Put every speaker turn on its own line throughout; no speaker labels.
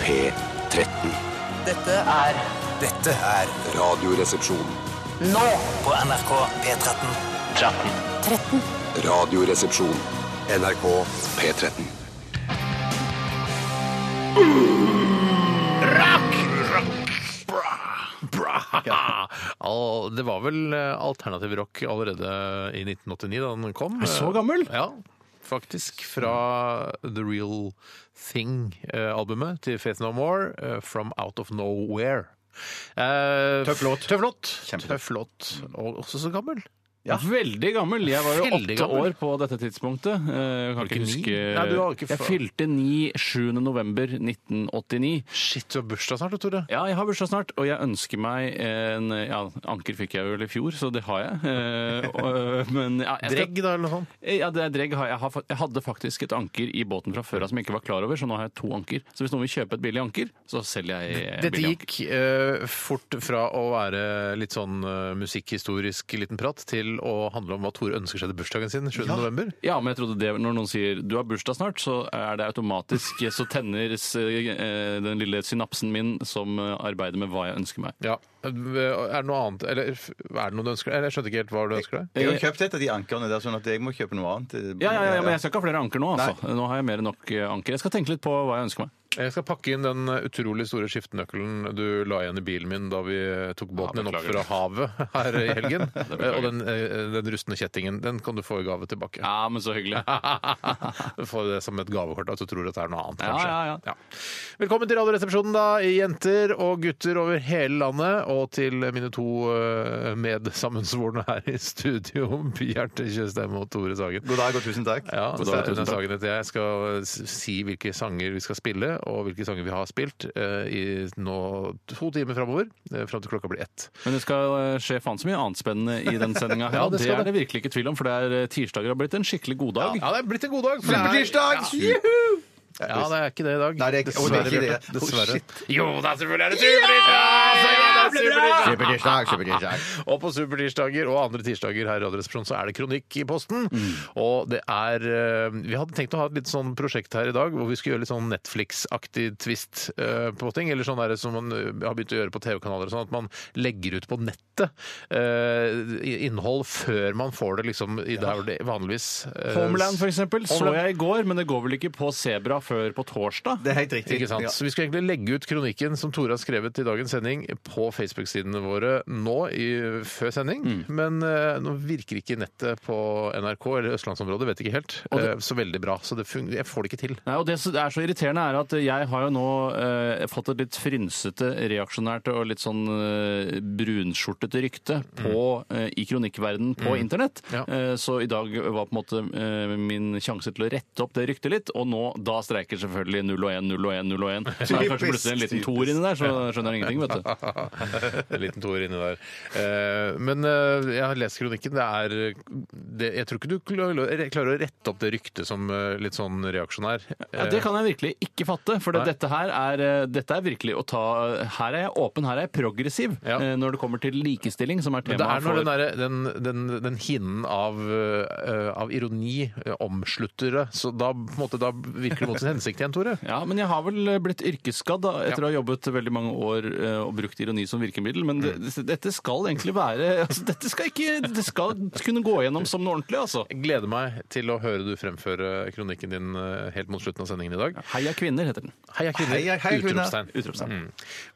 P13.
Dette er
Dette er
Radioresepsjon.
nå
på NRK P13.
13. Radioresepsjon. NRK P13.
Ja. Al- Det var vel eh, alternativ rock allerede i 1989 da den kom.
Er så gammel?
Ja, faktisk. Fra The Real Thing-albumet til Faith No More, eh, From Out of Nowhere. Eh,
Tøff låt.
Tøff låt.
Kjempetøff.
Tøff låt. Og også så gammel.
Ja. Veldig gammel. Jeg var jo
Veldig
åtte
gammel.
år på dette tidspunktet. Eh, Jeg kan
Var du
ikke
ikke
huske
ni? Nei, du var ikke
Jeg
fra-
fylte ni 7. november 1989.
Shit, du har bursdag snart, Tore.
Ja, jeg har bursdag snart, og jeg ønsker meg en ja, Anker fikk jeg vel i fjor, så det har jeg. Eh, og, men ja, jeg skal-
Dregg, da, eller noe sånt.
Ja, det er dregg. har Jeg, Jeg har, fa- jeg hadde faktisk et anker i båten fra før av som jeg ikke var klar over, så nå har jeg to anker. Så hvis noen vil kjøpe et billig anker, så selger jeg eh,
Dette
billig
gikk eh, fort fra å være litt sånn eh, musikkhistorisk liten prat til å handle om hva Tore ønsker seg til bursdagen sin 7. november.
Ja, men jeg trodde det, Når noen sier 'du har bursdag snart', så er det automatisk Så tenner eh, den lille synapsen min som eh, arbeider med hva jeg ønsker meg.
Ja. Er det noe annet Eller f- er det noe du ønsker deg? Eller Jeg skjønte ikke helt hva du ønsker deg.
Jeg har kjøpt et av de ankerne der, sånn at jeg må kjøpe noe annet.
Eh, Ja, ja, ja, Men jeg skal ikke ha flere anker nå. altså. Nå har jeg mer enn nok eh, anker. Jeg skal tenke litt på hva jeg ønsker meg.
Jeg skal pakke inn den utrolig store skiftenøkkelen du la igjen i bilen min da vi tok båten din opp fra havet her i helgen. Eh, Og den, eh, den rustne kjettingen. Den kan du få i gave tilbake.
Ja, men så hyggelig.
Du får det som et gavekort, at du tror at det er noe annet,
Ja,
kanskje.
ja, ja.
Velkommen til Radioresepsjonen, da, jenter og gutter over hele landet. Og til mine to eh, medsammensvorne her i studio, Bjarte Tjøstheim og Tore Sagen.
God dag og tusen takk.
Ja,
God
Stein
dag,
Tune
tusen takk.
Sagen heter jeg. Jeg skal s- si hvilke sanger vi skal spille, og hvilke sanger vi har spilt, eh, i nå to timer framover. eh, Fram til klokka blir ett.
Men det skal eh, skje faen så mye annet spennende i den sendinga.
Ja,
Ja,
det
det,
skal
er
det.
det virkelig ikke tvil om, for det er eh, tirsdager har blitt en skikkelig god dag.
Ja, det er blitt en god dag. for det er-
Supertirsdag!
Ja, det er ikke det i dag.
Nei, det er ikke- å, det er ikke det.
Bjarte. Dessverre.
Å,
jo da, selvfølgelig er det supertirsdag!
Supertirsdag, supertirsdag.
Og på supertirsdager og andre tirsdager her i Radioresepsjonen så er det kronikk i posten. Og det er eh, Vi hadde tenkt å ha et litt sånn prosjekt her i dag hvor vi skulle gjøre litt sånn Netflix-aktig twist eh, på ting. Eller sånn der som man eh, har begynt å gjøre på TV-kanaler og sånn, at man legger ut på nettet eh, i- innhold før man får det liksom i der hvor det vanligvis eh,
Homeland for eksempel, så
Homeland.
jeg i går, men det går vel ikke på Sebra før på torsdag?
Det er helt riktig.
Ikke sant? Så vi skal egentlig legge ut kronikken som Tore har skrevet i dagens sending på Facebook-sidene våre nå i, før sending,
Mm.
men eh, nå virker ikke nettet på NRK eller Østlandsområdet, vet ikke helt, eh, så veldig bra. Så det fun jeg får det ikke til.
Nei, og Det som er så irriterende, er at jeg har jo nå eh, fått et litt frynsete, reaksjonært og litt sånn eh, brunskjortete rykte på, eh, i kronikkverdenen på internett.
Mm. Ja.
Eh, så i dag var på en måte eh, min sjanse til å rette opp det ryktet litt, og nå da streiker selvfølgelig 0 og 1, 0 og 1, 0 og 1. Så det er
Typisk,
kanskje plutselig en liten
typisk.
toer inni der, så skjønner jeg ingenting, vet du.
en liten toer inni der. Eh, men eh, jeg har lest kronikken. Det er det, Jeg tror ikke du klarer klarer å rette opp det ryktet som eh, litt sånn reaksjonær.
Ja, Det kan jeg virkelig ikke fatte, for det-
Nei.
dette her er, eh, dette er virkelig å ta Her er jeg åpen, her er jeg progressiv
Ja.
eh, når det kommer til likestilling, som er
Men det
temaet
er når
for
den, derre- den, den, den hinnen av, eh, av ironi eh, omslutter det, så da, på en måte, da virker det mot sin hensikt igjen, Tore.
ja, men jeg har vel eh, blitt yrkesskadd da, etter å ha jobbet veldig mange år eh, og brukt ironi som virkemiddel, men det,
Mm.
dette skal egentlig være altså, Dette skal ikke Det skal kunne gå gjennom som noe ordentlig, altså.
Jeg gleder meg til å høre du fremføre kronikken din eh, helt mot slutten av sendingen i dag.
Heia kvinner, heter den.
Heia kvinner!
Heia- heia kvinner.
Utropstegn.
Utropstegn.
Mm.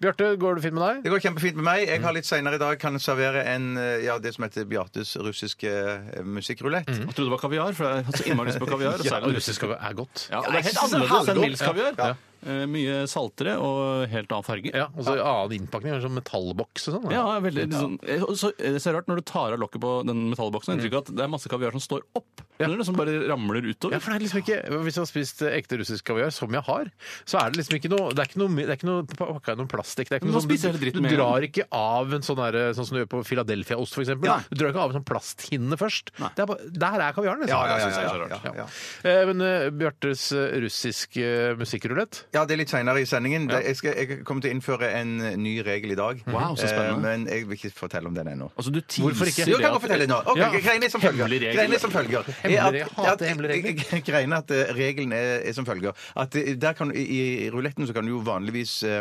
Bjarte, går det fint med deg?
Det går kjempefint med meg. Jeg har litt senere i dag kan servere en, eh, ja, det som heter Bjartes russiske eh, musikkrulett.
Jeg trodde det var kaviar, for jeg har så innmari lyst på kaviar. og
Ja,
særlig russisk.
russisk kaviar er altså godt.
Ja, og det er helt
jeg synes det er
annerledes enn
halvgodt.
Mills kaviar.
Ja.
Eh, Mye saltere og helt annen farge.
Ja, og så annen innpakning, sånn metallboks og sånn. da.
Ja, veldig, liksom, så, det er så rart når du tar av lokket på den metallboksen. Jeg har inntrykk av at det er masse kaviar som står opp, men det liksom bare ramler utover.
Ja, for det er liksom ikke, Hvis du har spist eh, ekte russisk kaviar, som jeg har, så er det liksom ikke noe Det er ikke noe, det er ikke noe pakka i noe plastikk. Det er ikke
Men
noe
da
sånn,
spiser jeg
du,
hele dritten
du
med en
drar ikke av en sånn, der, sånn som du gjør på Philadelphia-ost, f.eks.
Nei.
Du drar ikke av en sånn plasthinne først. Det er bare, der er kaviaren, liksom.
Ja, ja, ja,
Det synes jeg er
ja,
så rart.
ja, ja.
Eh, Men eh, Bjartes eh, russiske musikkrulett
Ja, det er litt seinere i sendingen. Det- Jeg, skal, jeg kommer til å innføre en eh, ny regel i dag.
Wow, så spennende.
Eh, Men jeg vil ikke fortelle om den ennå.
Altså, du
Hvorfor ikke?
teaser
Jo,
det
Jo, kan jeg
at-
fortelle nå. Ok,
Ja.
Greiene er som følger.
Hemmelig regel.
Greiene er som følger.
Hemmelig
Er at-
regel. Jeg hater
at-
hemmelig regel.
Greiene er at eh, regelen er, er som følger. At eh, der kan, I i ruletten så kan du jo vanligvis eh,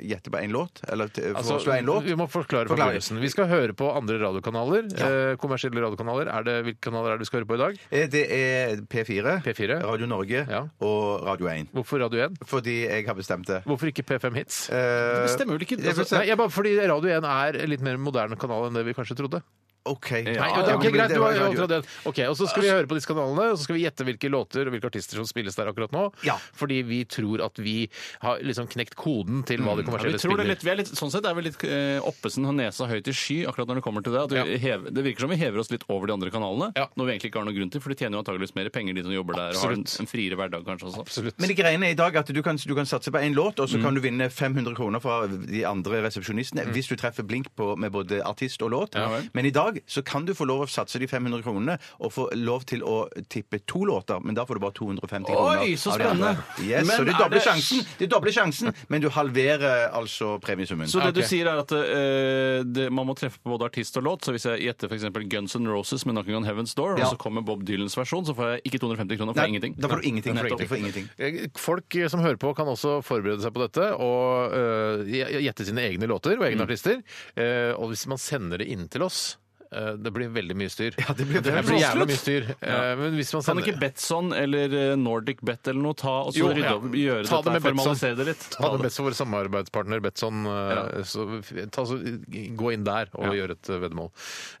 gjette på én låt, eller t- eh,
Altså,
foreslå én låt.
vi må forklare
Forklare.
forbindelsen. Vi skal høre på andre radiokanaler. Eh, kommersielle radiokanaler. Er det, hvilke kanaler er det vi skal høre på i dag?
Eh, Det er P4,
P4.
Radio Norge
Ja.
og Radio 1.
Hvorfor Radio 1?
Fordi jeg har bestemt det.
Hvorfor ikke P5 Hits?
Eh,
Det stemmer vel ikke?
jeg
Altså,
bestemmer-
Nei, jeg bare, fordi Radio 1 er en litt mer moderne kanal enn det vi kanskje trodde.
Eh, OK.
Nei,
Ja,
ok,
men
greit,
det
du
var
har
radio.
outra den. Ok, og Så skal vi høre på disse kanalene, og så skal vi gjette hvilke låter og hvilke artister som spilles der akkurat nå.
Ja.
Fordi vi tror at vi har liksom knekt koden til
Mm.
hva de
Ja, vi
kommersielle
tror
spiller.
det litt, vi er litt, sånn sett er vi litt eh, oppesen og nesa høyt i sky akkurat når det kommer til det. At vi hever, det virker som vi hever oss litt over de andre kanalene,
Ja.
når vi egentlig ikke har noen grunn til, for de tjener jo antageligvis mer penger, de som jobber der, og har en,
Absolutt.
en friere hverdag kanskje også.
Men det greiene er i dag at du kan, du kan satse på én låt, og så kan du vinne 500 kroner fra de andre resepsjonistene hvis du treffer blink på, med både artist og låt.
Mm. Ja vel.
men i dag så kan du få lov å satse de 500 kronene og få lov til å tippe to låter, men da får du bare 250 kroner.
Oi, så
av de andre.
spennende.
Yes,
Men
så det
er
dobler
det-
sjansen, det dobler sjansen, men du halverer altså premiesummen.
Så det
ok.
du sier er at eh, det, man må treffe på både artist og låt, så hvis jeg gjetter f.eks. Guns N' Roses med 'Knocking on Heaven's Door',
Ja.
og så kommer Bob Dylans versjon, så får jeg ikke 250 kroner for
Nei,
ingenting.
Da får du ingenting.
Nettopp.
Du får ingenting.
Eh, Folk som hører på, kan også forberede seg på dette og eh, gjette sine egne låter og
Mm.
egne artister. Eh, og hvis man sender det inn til oss eh, det blir veldig mye styr.
Ja, det blir veldig
jævla
vanskelig.
mye styr. Eh, Men hvis man
Kan
sender
ikke Betson eller eh, Nordic Bet eller noe ta og så
Jo,
rydde
ja.
opp, gjøre
Ta det
dette,
med Betsson.
formalisere det litt?
Ta det best for vår samarbeidspartner Betson. eh,
Ja.
Så, f- ta, så, gå inn der og gjør et eh, veddemål.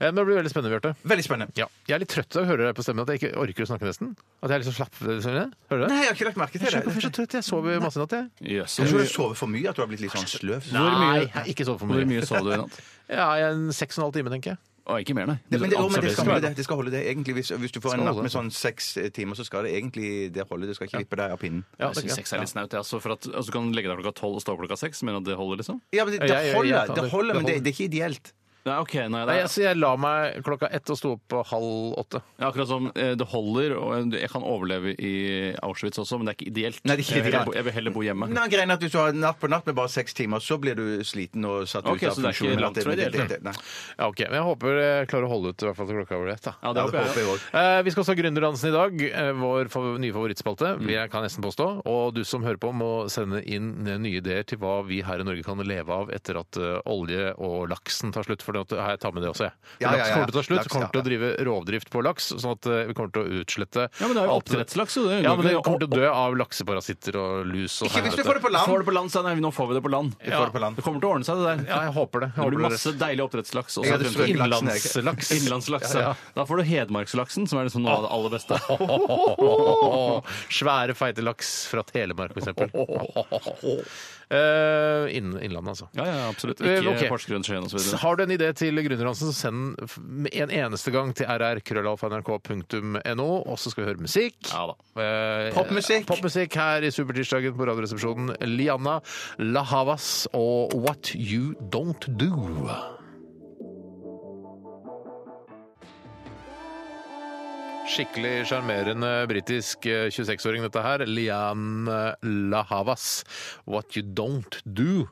Eh, Men det blir veldig spennende, Bjarte.
Veldig spennende.
Ja. Jeg er litt trøtt av å høre deg på stemmen, at jeg ikke orker å snakke nesten. At jeg er liksom slapp. Sånn, hører du det?
Nei, jeg har ikke lagt merke til
Jeg skjønner ikke hvorfor jeg
det.
er så trøtt. Jeg sover masse i natt, jeg.
Yes.
Jeg tror du sover for mye, at du har blitt litt sånn sløv.
Hvor mye? Nei, jeg har ikke sovet for
Hvor
mye.
mye sov du i natt?
Ja, jeg er en seks og en halv time, tenker jeg.
Å, ikke mer, nei.
Det, men det, å, men det
Absolutt.
skal holde det. det, skal holde det. Egentlig, hvis, hvis du får
Skal
en natt
holde
med
det.
sånn seks eh, timer, så skal det egentlig det holde. Det skal ikke vippe deg av pinnen.
Ja,
Jeg syns
det er
seks er litt snaut. Ja. Altså, for at, altså, du kan legge deg klokka tolv og stå opp klokka seks. Mener du at det holder, liksom?
Ja, men det,
Ja, jeg-
det
jeg- jeg
holder,
tar
det
det.
holder, men
Det
det, det er ikke ideelt.
Nei, ok, nei, det
Nei,
er,
altså jeg la meg klokka ett og sto opp på halv åtte.
Ja, akkurat som eh, det holder, og eh, jeg kan overleve i Auschwitz også, men det er ikke ideelt. Eh,
Nei, det er ikke
jeg, vil heller
ideelt.
bo, jeg vil heller bo hjemme.
Nei, greien er at Hvis du har natt på natt med bare seks timer, så blir du sliten og satt
Ok,
ut av
så det er ikke
funksjonen.
langt
at
fra ideelt.
nei.
Ja, ok, Men jeg håper jeg klarer å holde ut i hvert fall til klokka over ett. da.
Ja,
Ja,
det
det
håper jeg.
håper jeg også.
Eh, vi skal også ha Gründerdansen i dag, eh, vår fa- nye favorittspalte,
Mm.
vil jeg kan nesten påstå. Og du som hører på, må sende inn eh, nye ideer til hva vi her i Norge kan leve av etter at eh, olje og laksen tar slutt. For det, at- eh, her, jeg tar med det også, jeg.
Ja, ja,
Laks
ja.
kommer til å ta slutt.
Laks,
vi kommer
ja.
til å drive rovdrift på laks, sånn at eh, vi kommer til å utslette
Ja, men det er
alt
jo
det-
oppdrettslaks, jo. Det
Ja, men det
går ikke.
kommer til å dø av lakseparasitter og lus og
Ikke hvis du
helvete.
får det på land!
Får det på land, Stein. Nei, Nå får vi det på land.
Du får det på land.
Det kommer til å ordne seg, det der.
Ja, jeg håper det. Jeg
Det
håper
blir
det er
masse deilig oppdrettslaks. Også,
Jeg hadde
fremfor-
strøket laksen, jeg.
Innlandslaks.
Innlandslaks. ja. Da får du hedmarkslaksen, som er liksom noe av det aller beste.
Åh, Svære, feite laks fra Telemark, for eksempel. Uh, Innlandet, altså.
Ja, ja, absolutt.
Eh,
Ikke
ok.
Porsgrunn, Skien og så videre.
Har du en idé til Gründerdansen, så send den f- med en eneste gang til rrkrøllalfa.nrk.no, og så skal vi høre musikk.
Ja da.
Eh,
Popmusikk.
Popmusikk her i Supertirsdagen på Radioresepsjonen. Lianna La Havas og What You Don't Do. Skikkelig sjarmerende britisk eh, 26-åring, dette her. Lian La Havas. What You Don't Do.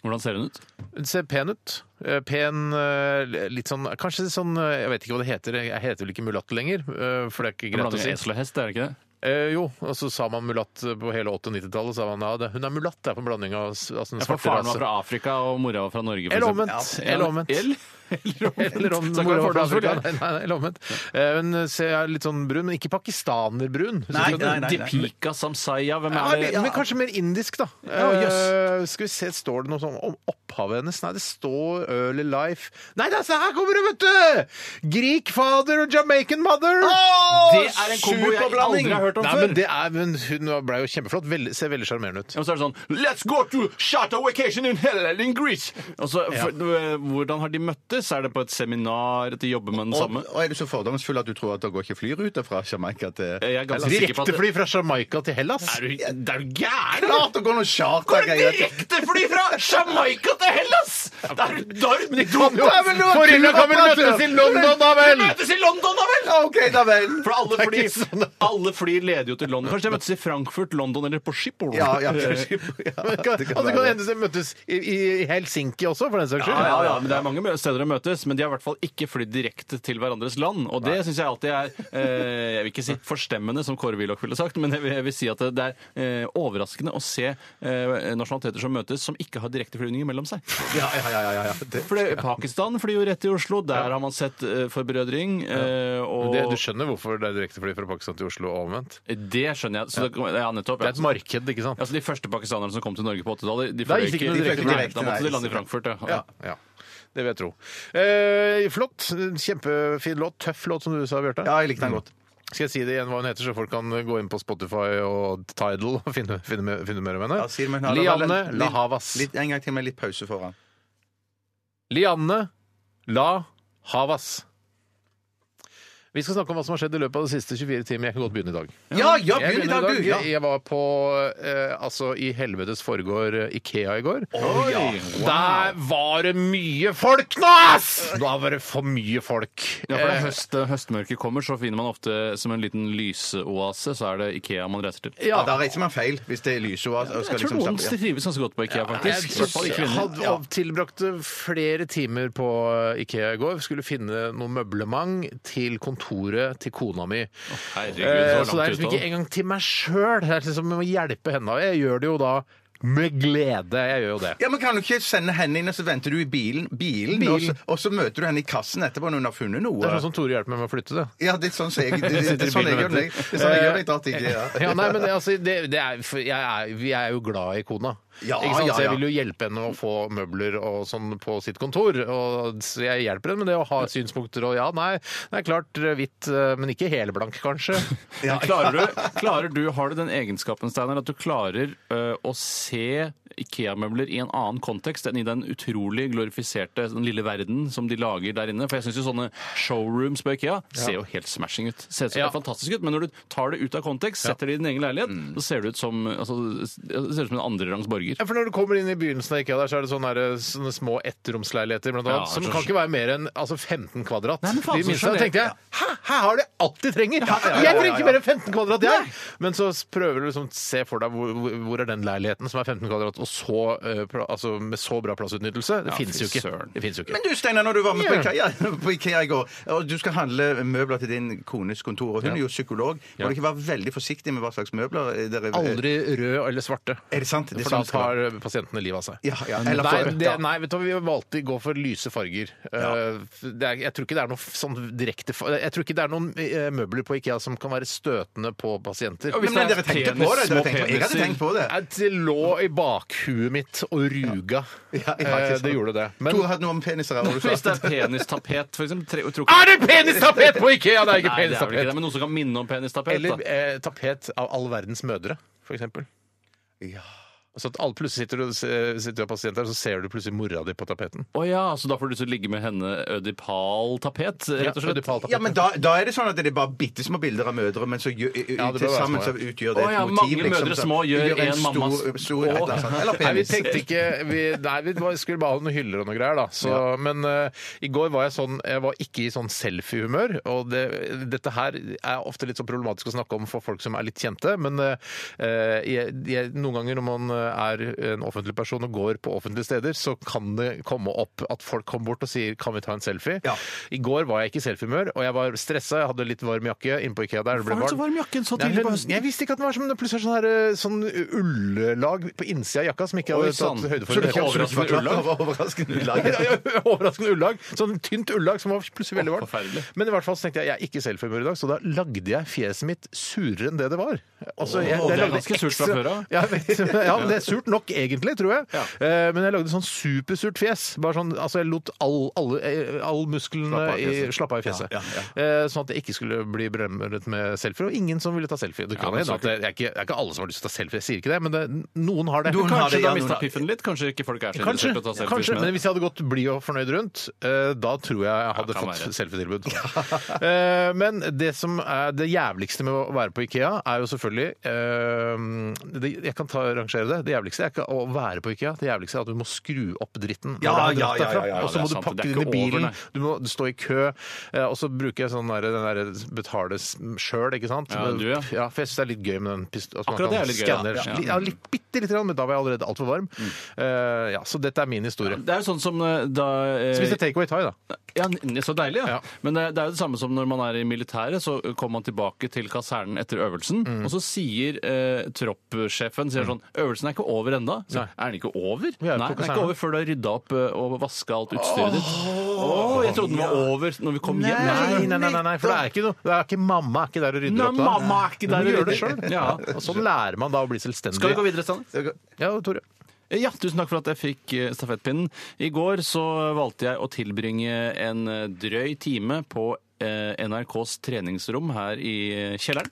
Hvordan ser hun ut?
Hun ser pen ut. Eh, Pen, eh, litt sånn Kanskje sånn eh, Jeg vet ikke hva det heter. Jeg heter vel ikke mulatt lenger, eh, for det er ikke
Det er
greit å
blanding av
si.
esel og hest, er det ikke det?
Eh, jo, og så sa man mulatt på hele 80- og 90-tallet. sa man, Ja, det- hun er mulatt, det er på en blanding av s- altså, den
Ja, for
svarte
faren var
rase.
fra Afrika, og mora var fra Norge. for
Eller
eksempel.
omvendt.
Ja,
Eller omvendt.
Eller
Eller om mora var
Så kan jeg
fra
fordomsfull,
Afrika.
jeg.
Nei, nei, nei, eller omvendt. Eh, Hun ser litt sånn brun, men ikke pakistanerbrun. Synes
Nei,
jeg.
nei, nei, nei.
Deepika Samsaya, hvem
Ja, men-
er det?
Men kanskje mer indisk, da.
Ja, jøss.
Eh, skal vi se, Står det noe sånn om opphavet hennes? Nei, det står Early Life Nei, da, se her kommer det, vet du! Greek father og Jamaican mother.
Det er en kombo jeg
superblanding!
aldri har hørt om
Nei,
før.
men det er, men Hun ble jo kjempeflott. Veldig, ser veldig sjarmerende ut.
Ja, men så er det sånn Let's go to charter vacation in Hell in Greece! Og så, for, øh, hvordan har de møttes? Er det på et seminar? At de jobber med den
Og,
samme?
og er du så fordomsfull at du tror at det går ikke flyruter fra Jamaica til
Jeg er ganske sikker på at
Direktefly fra Jamaica til Hellas.
Er du, det er jo gæren!
Klart det går noen chartergreier!
Direktefly fra Jamaica til Hellas! Da er du da er du-
Ja, men det var
Foreldra
kul at
kommer
man-
møtes i London, da vel!
Møtes i London, da vel!
Ja, OK, da vel.
For alle
Det er
fly,
ikke sånn, da.
alle fly leder jo til London. Kanskje de møtes i Frankfurt, London eller på Schiphol?
Ja, ja,
Og det altså, kan
altså,
det hende de møtes i, i Helsinki også, for den saks
Ja,
skyld.
ja, ja, men Det er mange mø- steder å møtes, men de har i hvert fall ikke flydd direkte til hverandres land. Og det syns jeg alltid er eh, Jeg vil ikke si forstemmende, som Kåre Willoch ville sagt, men jeg vil, jeg vil si at det er eh, overraskende å se eh, nasjonaliteter som møtes, som ikke har direkteflyvninger mellom seg.
Ja, ja, ja, ja, ja. Det,
For det, Pakistan flyr jo rett til Oslo. Der har man sett eh, forbrødring. Eh, og
det,
det,
du skjønner hvorfor det er direktefly fra Pakistan til Oslo og omvendt?
skjønner jeg. Så det, ja, nettopp.
Det
Ja.
er et marked, ikke sant?
Altså, de første pakistanerne som kom til Norge på 80-tallet, de
Da
fløy
gikk det
ikke
ikke noe direkte,
Nei,
direkte,
Da måtte
nei.
de lande i Frankfurt. Ja.
Ja. ja. Det vil jeg tro. Eh, flott. Kjempefin låt. Tøff låt, som du sa, Bjarte. Mm.
Ja, jeg likte den godt.
Skal jeg si det igjen hva hun heter, så folk kan gå inn på Spotify og Tidal og finne, finne, mer- finne mer om henne?
Ja, sier man her, da vel,
Lianne
litt-
La Havas.
Litt, en gang til med litt pause foran.
Lianne La Havas. Vi skal snakke om hva som har skjedd i løpet av de siste 24 timer. Jeg kan godt begynne i dag.
Ja, ja,
Jeg
begynn i dag,
begynner
du! Ja.
Jeg- Jeg var på eh, altså i helvetes foregår eh, Ikea i går. Der var det mye folk nå, ass! Da var det for mye folk.
Ja, for
Eh,
det er høst, høstmørket kommer, så finner man ofte som en liten lyseoase, så er det Ikea man reiser til.
Ja,
ja.
Da reiser man feil hvis det er lysoas. og skal
Jeg tror
liksom
noen
slappe- ja.
trives ganske godt på Ikea, faktisk. I hvert fall i
Jeg
kvinner.
hadde tilbrakte flere timer på Ikea i går. Skulle finne noe møblement til kontoret til kona mi.
herregud,
Eh, så
så
det er
langt
liksom
ut av
ikke engang til meg sjøl. Det er liksom å hjelpe henne. Og jeg gjør det jo da med glede. Jeg gjør jo det.
Ja, men Kan du ikke sende henne inn, og så venter du i bilen, bilen, Og, så, og så møter du henne i kassen etterpå når hun har funnet noe?
Det er sånn som Tore hjelper meg med å flytte det.
Ja, det er sånn som jeg det, det, det, er sånn jeg gjør det. Det er sånn jeg gjør det, jeg drar til Ikea.
Ja, nei, men det, altså, det, det er, for jeg er, vi er jo glad i kona.
Ja,
ikke sant?
ja,
Så jeg
ja.
vil jo hjelpe henne å få møbler og sånn på sitt kontor. Og, så jeg hjelper henne med det å ha synspunkter og ja, nei, det er klart hvitt, eh, men ikke helblank, kanskje.
Men Klarer du, klarer du, har du den egenskapen, Steinar, at du klarer ø, å se Ikea-møbler i en annen kontekst enn i den utrolig glorifiserte den lille verden som de lager der inne? For jeg syns jo sånne showrooms på Ikea ser jo helt smashing ut. Ser ut som
Ja.
fantastisk ut, men når du tar det ut av kontekst, setter det i din egen leilighet,
Mm.
så ser det ut som, altså, det ser ut som en andrerangs borger.
Ja, for Når du kommer inn i begynnelsen av IKEA, der, så er det sånne, her, eh, sånne små ettromsleiligheter blant annet,
Ja,
som
så-
kan ikke være mer enn altså 15 kvadrat.
Nei, men faen,
De
så
minste,
skjønner
da
jeg.
tenkte jeg hæ, her har de alt de trenger!
ja,
Jeg trenger
ja,
ikke
ja.
mer enn 15 kvadrat, jeg! Men så prøver du liksom å se for deg hvor, hvor- hvor er den leiligheten som er 15 kvadrat, og så, eh, pla- altså, med så bra plassutnyttelse. Det
Ja,
finnes
fy
jo ikke.
søren.
Det finnes jo ikke.
Men du, Steinar, når du var med på
Ja.
IKEA, på IKEA i går, og du skal handle møbler til din kones kontor, og hun er jo psykolog, må du ikke være veldig forsiktig med hva slags møbler eh, dere
Aldri rød eller svarte.
Er det sant? Det er
For da
sånn det skal
tar pasientene livet av seg. Mm.
Ja, ja, eller
nei,
for-
det,
ja.
nei, vet du hva, vi valgte å gå for lyse farger. Eh, det er, jeg tror ikke det er noe f- sånn direkte fa- Jeg tror ikke det er noen eh, møbler på Ikea som kan være støtende på pasienter.
hvis
Men, men
det er
dere tenkte
penis,
på det! Dere
små
tenkte, jeg hadde
peniser.
tenkt på det.
Jeg- Det lå i bakhuet mitt og ruga.
Ja, ja, ikke
Eh,
sant.
det gjorde det. Men
Tore hadde noe om peniser her. hva du
Hvis
sa.
det er penistapet, for eksempel tre, jeg tror ikke-
er det penistapet på Ikea?! Ah, Det er ikke
Nei, det er vel ikke det,
penistapet.
men noe som kan minne om penistapet. da.
Eller eh, tapet av all verdens mødre, for eksempel.
Ja.
Så at alle plutselig sitter og, sitter og er pasienter, og så ser du plutselig mora di på tapeten.
Å ja, så da får du lyst til å ligge med henne ødipal-tapet, rett og slett?
Ødipaltapeten.
Ja, men da, da er det sånn at det er bare bitte små bilder av mødre, men så gjør,
Ja, det bør
til
være
sammen
små, ja.
så utgjør det
Å,
et
ja,
motiv.
mange mødre
så-
små gjør
en
en mammas-
stor, stor et eller, annet sånt. eller
Nei, vi
penis.
tenkte ikke vi, Nei, vi var- skulle bare ha noen hyller og noe greier, da. Så, Men eh, i går var jeg sånn Jeg var ikke i sånn selfie-humør. Og det, dette her er ofte litt så problematisk å snakke om for folk som er litt kjente, men eh, jeg, jeg, noen ganger når man eh, er en offentlig person og går på offentlige steder, så kan det komme opp at folk kommer bort og sier 'kan vi ta en selfie'?
Ja.
I går var jeg ikke i selfie-humør, og jeg var stressa, jeg hadde litt varm jakke innpå Ikea der. Det ble
Hvorfor er det så varm jakke så
Nei,
tidlig på
hun-
høsten?
Jeg visste ikke at den var som det plutselig er sånn, her, eh, sånn ulllag på innsida av jakka som ikke
Oi,
hadde tatt
sann.
høyde for
Så det
det.
er ikke overraskende
Det var Overraskende ulike.
Overraskende ullag. Sånn tynt ullag som var plutselig veldig
forferdelig.
varmt. Men i hvert fall så tenkte jeg jeg er ikke selfiehumør i dag, så da lagde jeg fjeset mitt surere enn det det var. Altså, jeg,
Åh, det er
lagde
ganske surt fra
ekstra-
før av.
Ja, jeg vet, ja, men det er surt nok egentlig, tror jeg. Eh, Men jeg lagde sånn supersurt fjes. Bare sånn, altså Jeg lot all, alle, eh, all musklene i- slappe av i fjeset. Eh, Sånn at det ikke skulle bli bremret med selfier. Og ingen som ville ta selfie. Det, kan
men
hende
så
at det, det, er ikke, det er ikke alle som har lyst til å ta selfie, jeg sier ikke det, men det, noen har det.
Noen har
Kanskje
det,
du
ja,
har mista
noen har-
piffen litt? Kanskje ikke folk er så
Kanskje.
interessert i å ta selfies
kanskje. Men
med
hvis jeg hadde gått blid og fornøyd rundt, eh, da tror jeg jeg hadde
kan
fått
være.
selfietilbud. Eh, Men det som er det jævligste med å være på Ikea, er jo selvfølgelig eh, det- Jeg kan ta, rangere det. deg. Det jævligste er ikke å være på IKEA, det jævligste er at du må skru opp dritten. når
Ja,
du har dratt
ja, ja,
derfra.
ja, ja,
og så
det er
må du
sant,
pakke
det er
det inn i
ikke over,
bilen,
nei.
du må stå i kø. eh, Og så bruker jeg sånn der, den derre betale sjøl, ikke sant.
Ja, du, ja.
for jeg syns det er litt gøy med den pist- at man kan
Akkurat det er litt gøy, ja.
skanne-
Ja.
Li- Ja, litt, bitte lite grann, men da var jeg allerede altfor varm. Eh, ja, så dette er min historie.
Det er jo sånn som eh, da eh,
Spiste takeaway thai, da.
Ja, n- Så deilig, ja.
Ja.
Men det, det er jo det samme som når man er i militæret, så kommer man tilbake til kasernen etter øvelsen, og så sier eh, troppssjefen sier sånn Øvelsen er ikke over ennå. Så,
Nei.
Er den ikke over?
Vi er på
Nei, den er
kasernen.
ikke over før du har rydda opp eh, og vaska alt utstyret ditt. Åh, jeg trodde den var over når vi kom hjem.
Nei, nei, nei, nei, nei, for det er ikke noe det er ikke Mamma er ikke der og rydder
Nei,
opp da.
mamma er ikke der
Men du
og
gjør det
rydder.
selv.
Ja.
Og sånn lærer man da å bli selvstendig.
Skal vi gå videre, Stanley?
Ja, Tore.
Ja, tusen takk for at jeg fikk eh, stafettpinnen. I går så valgte jeg å tilbringe en eh, drøy time på eh, NRKs treningsrom her i eh, kjelleren.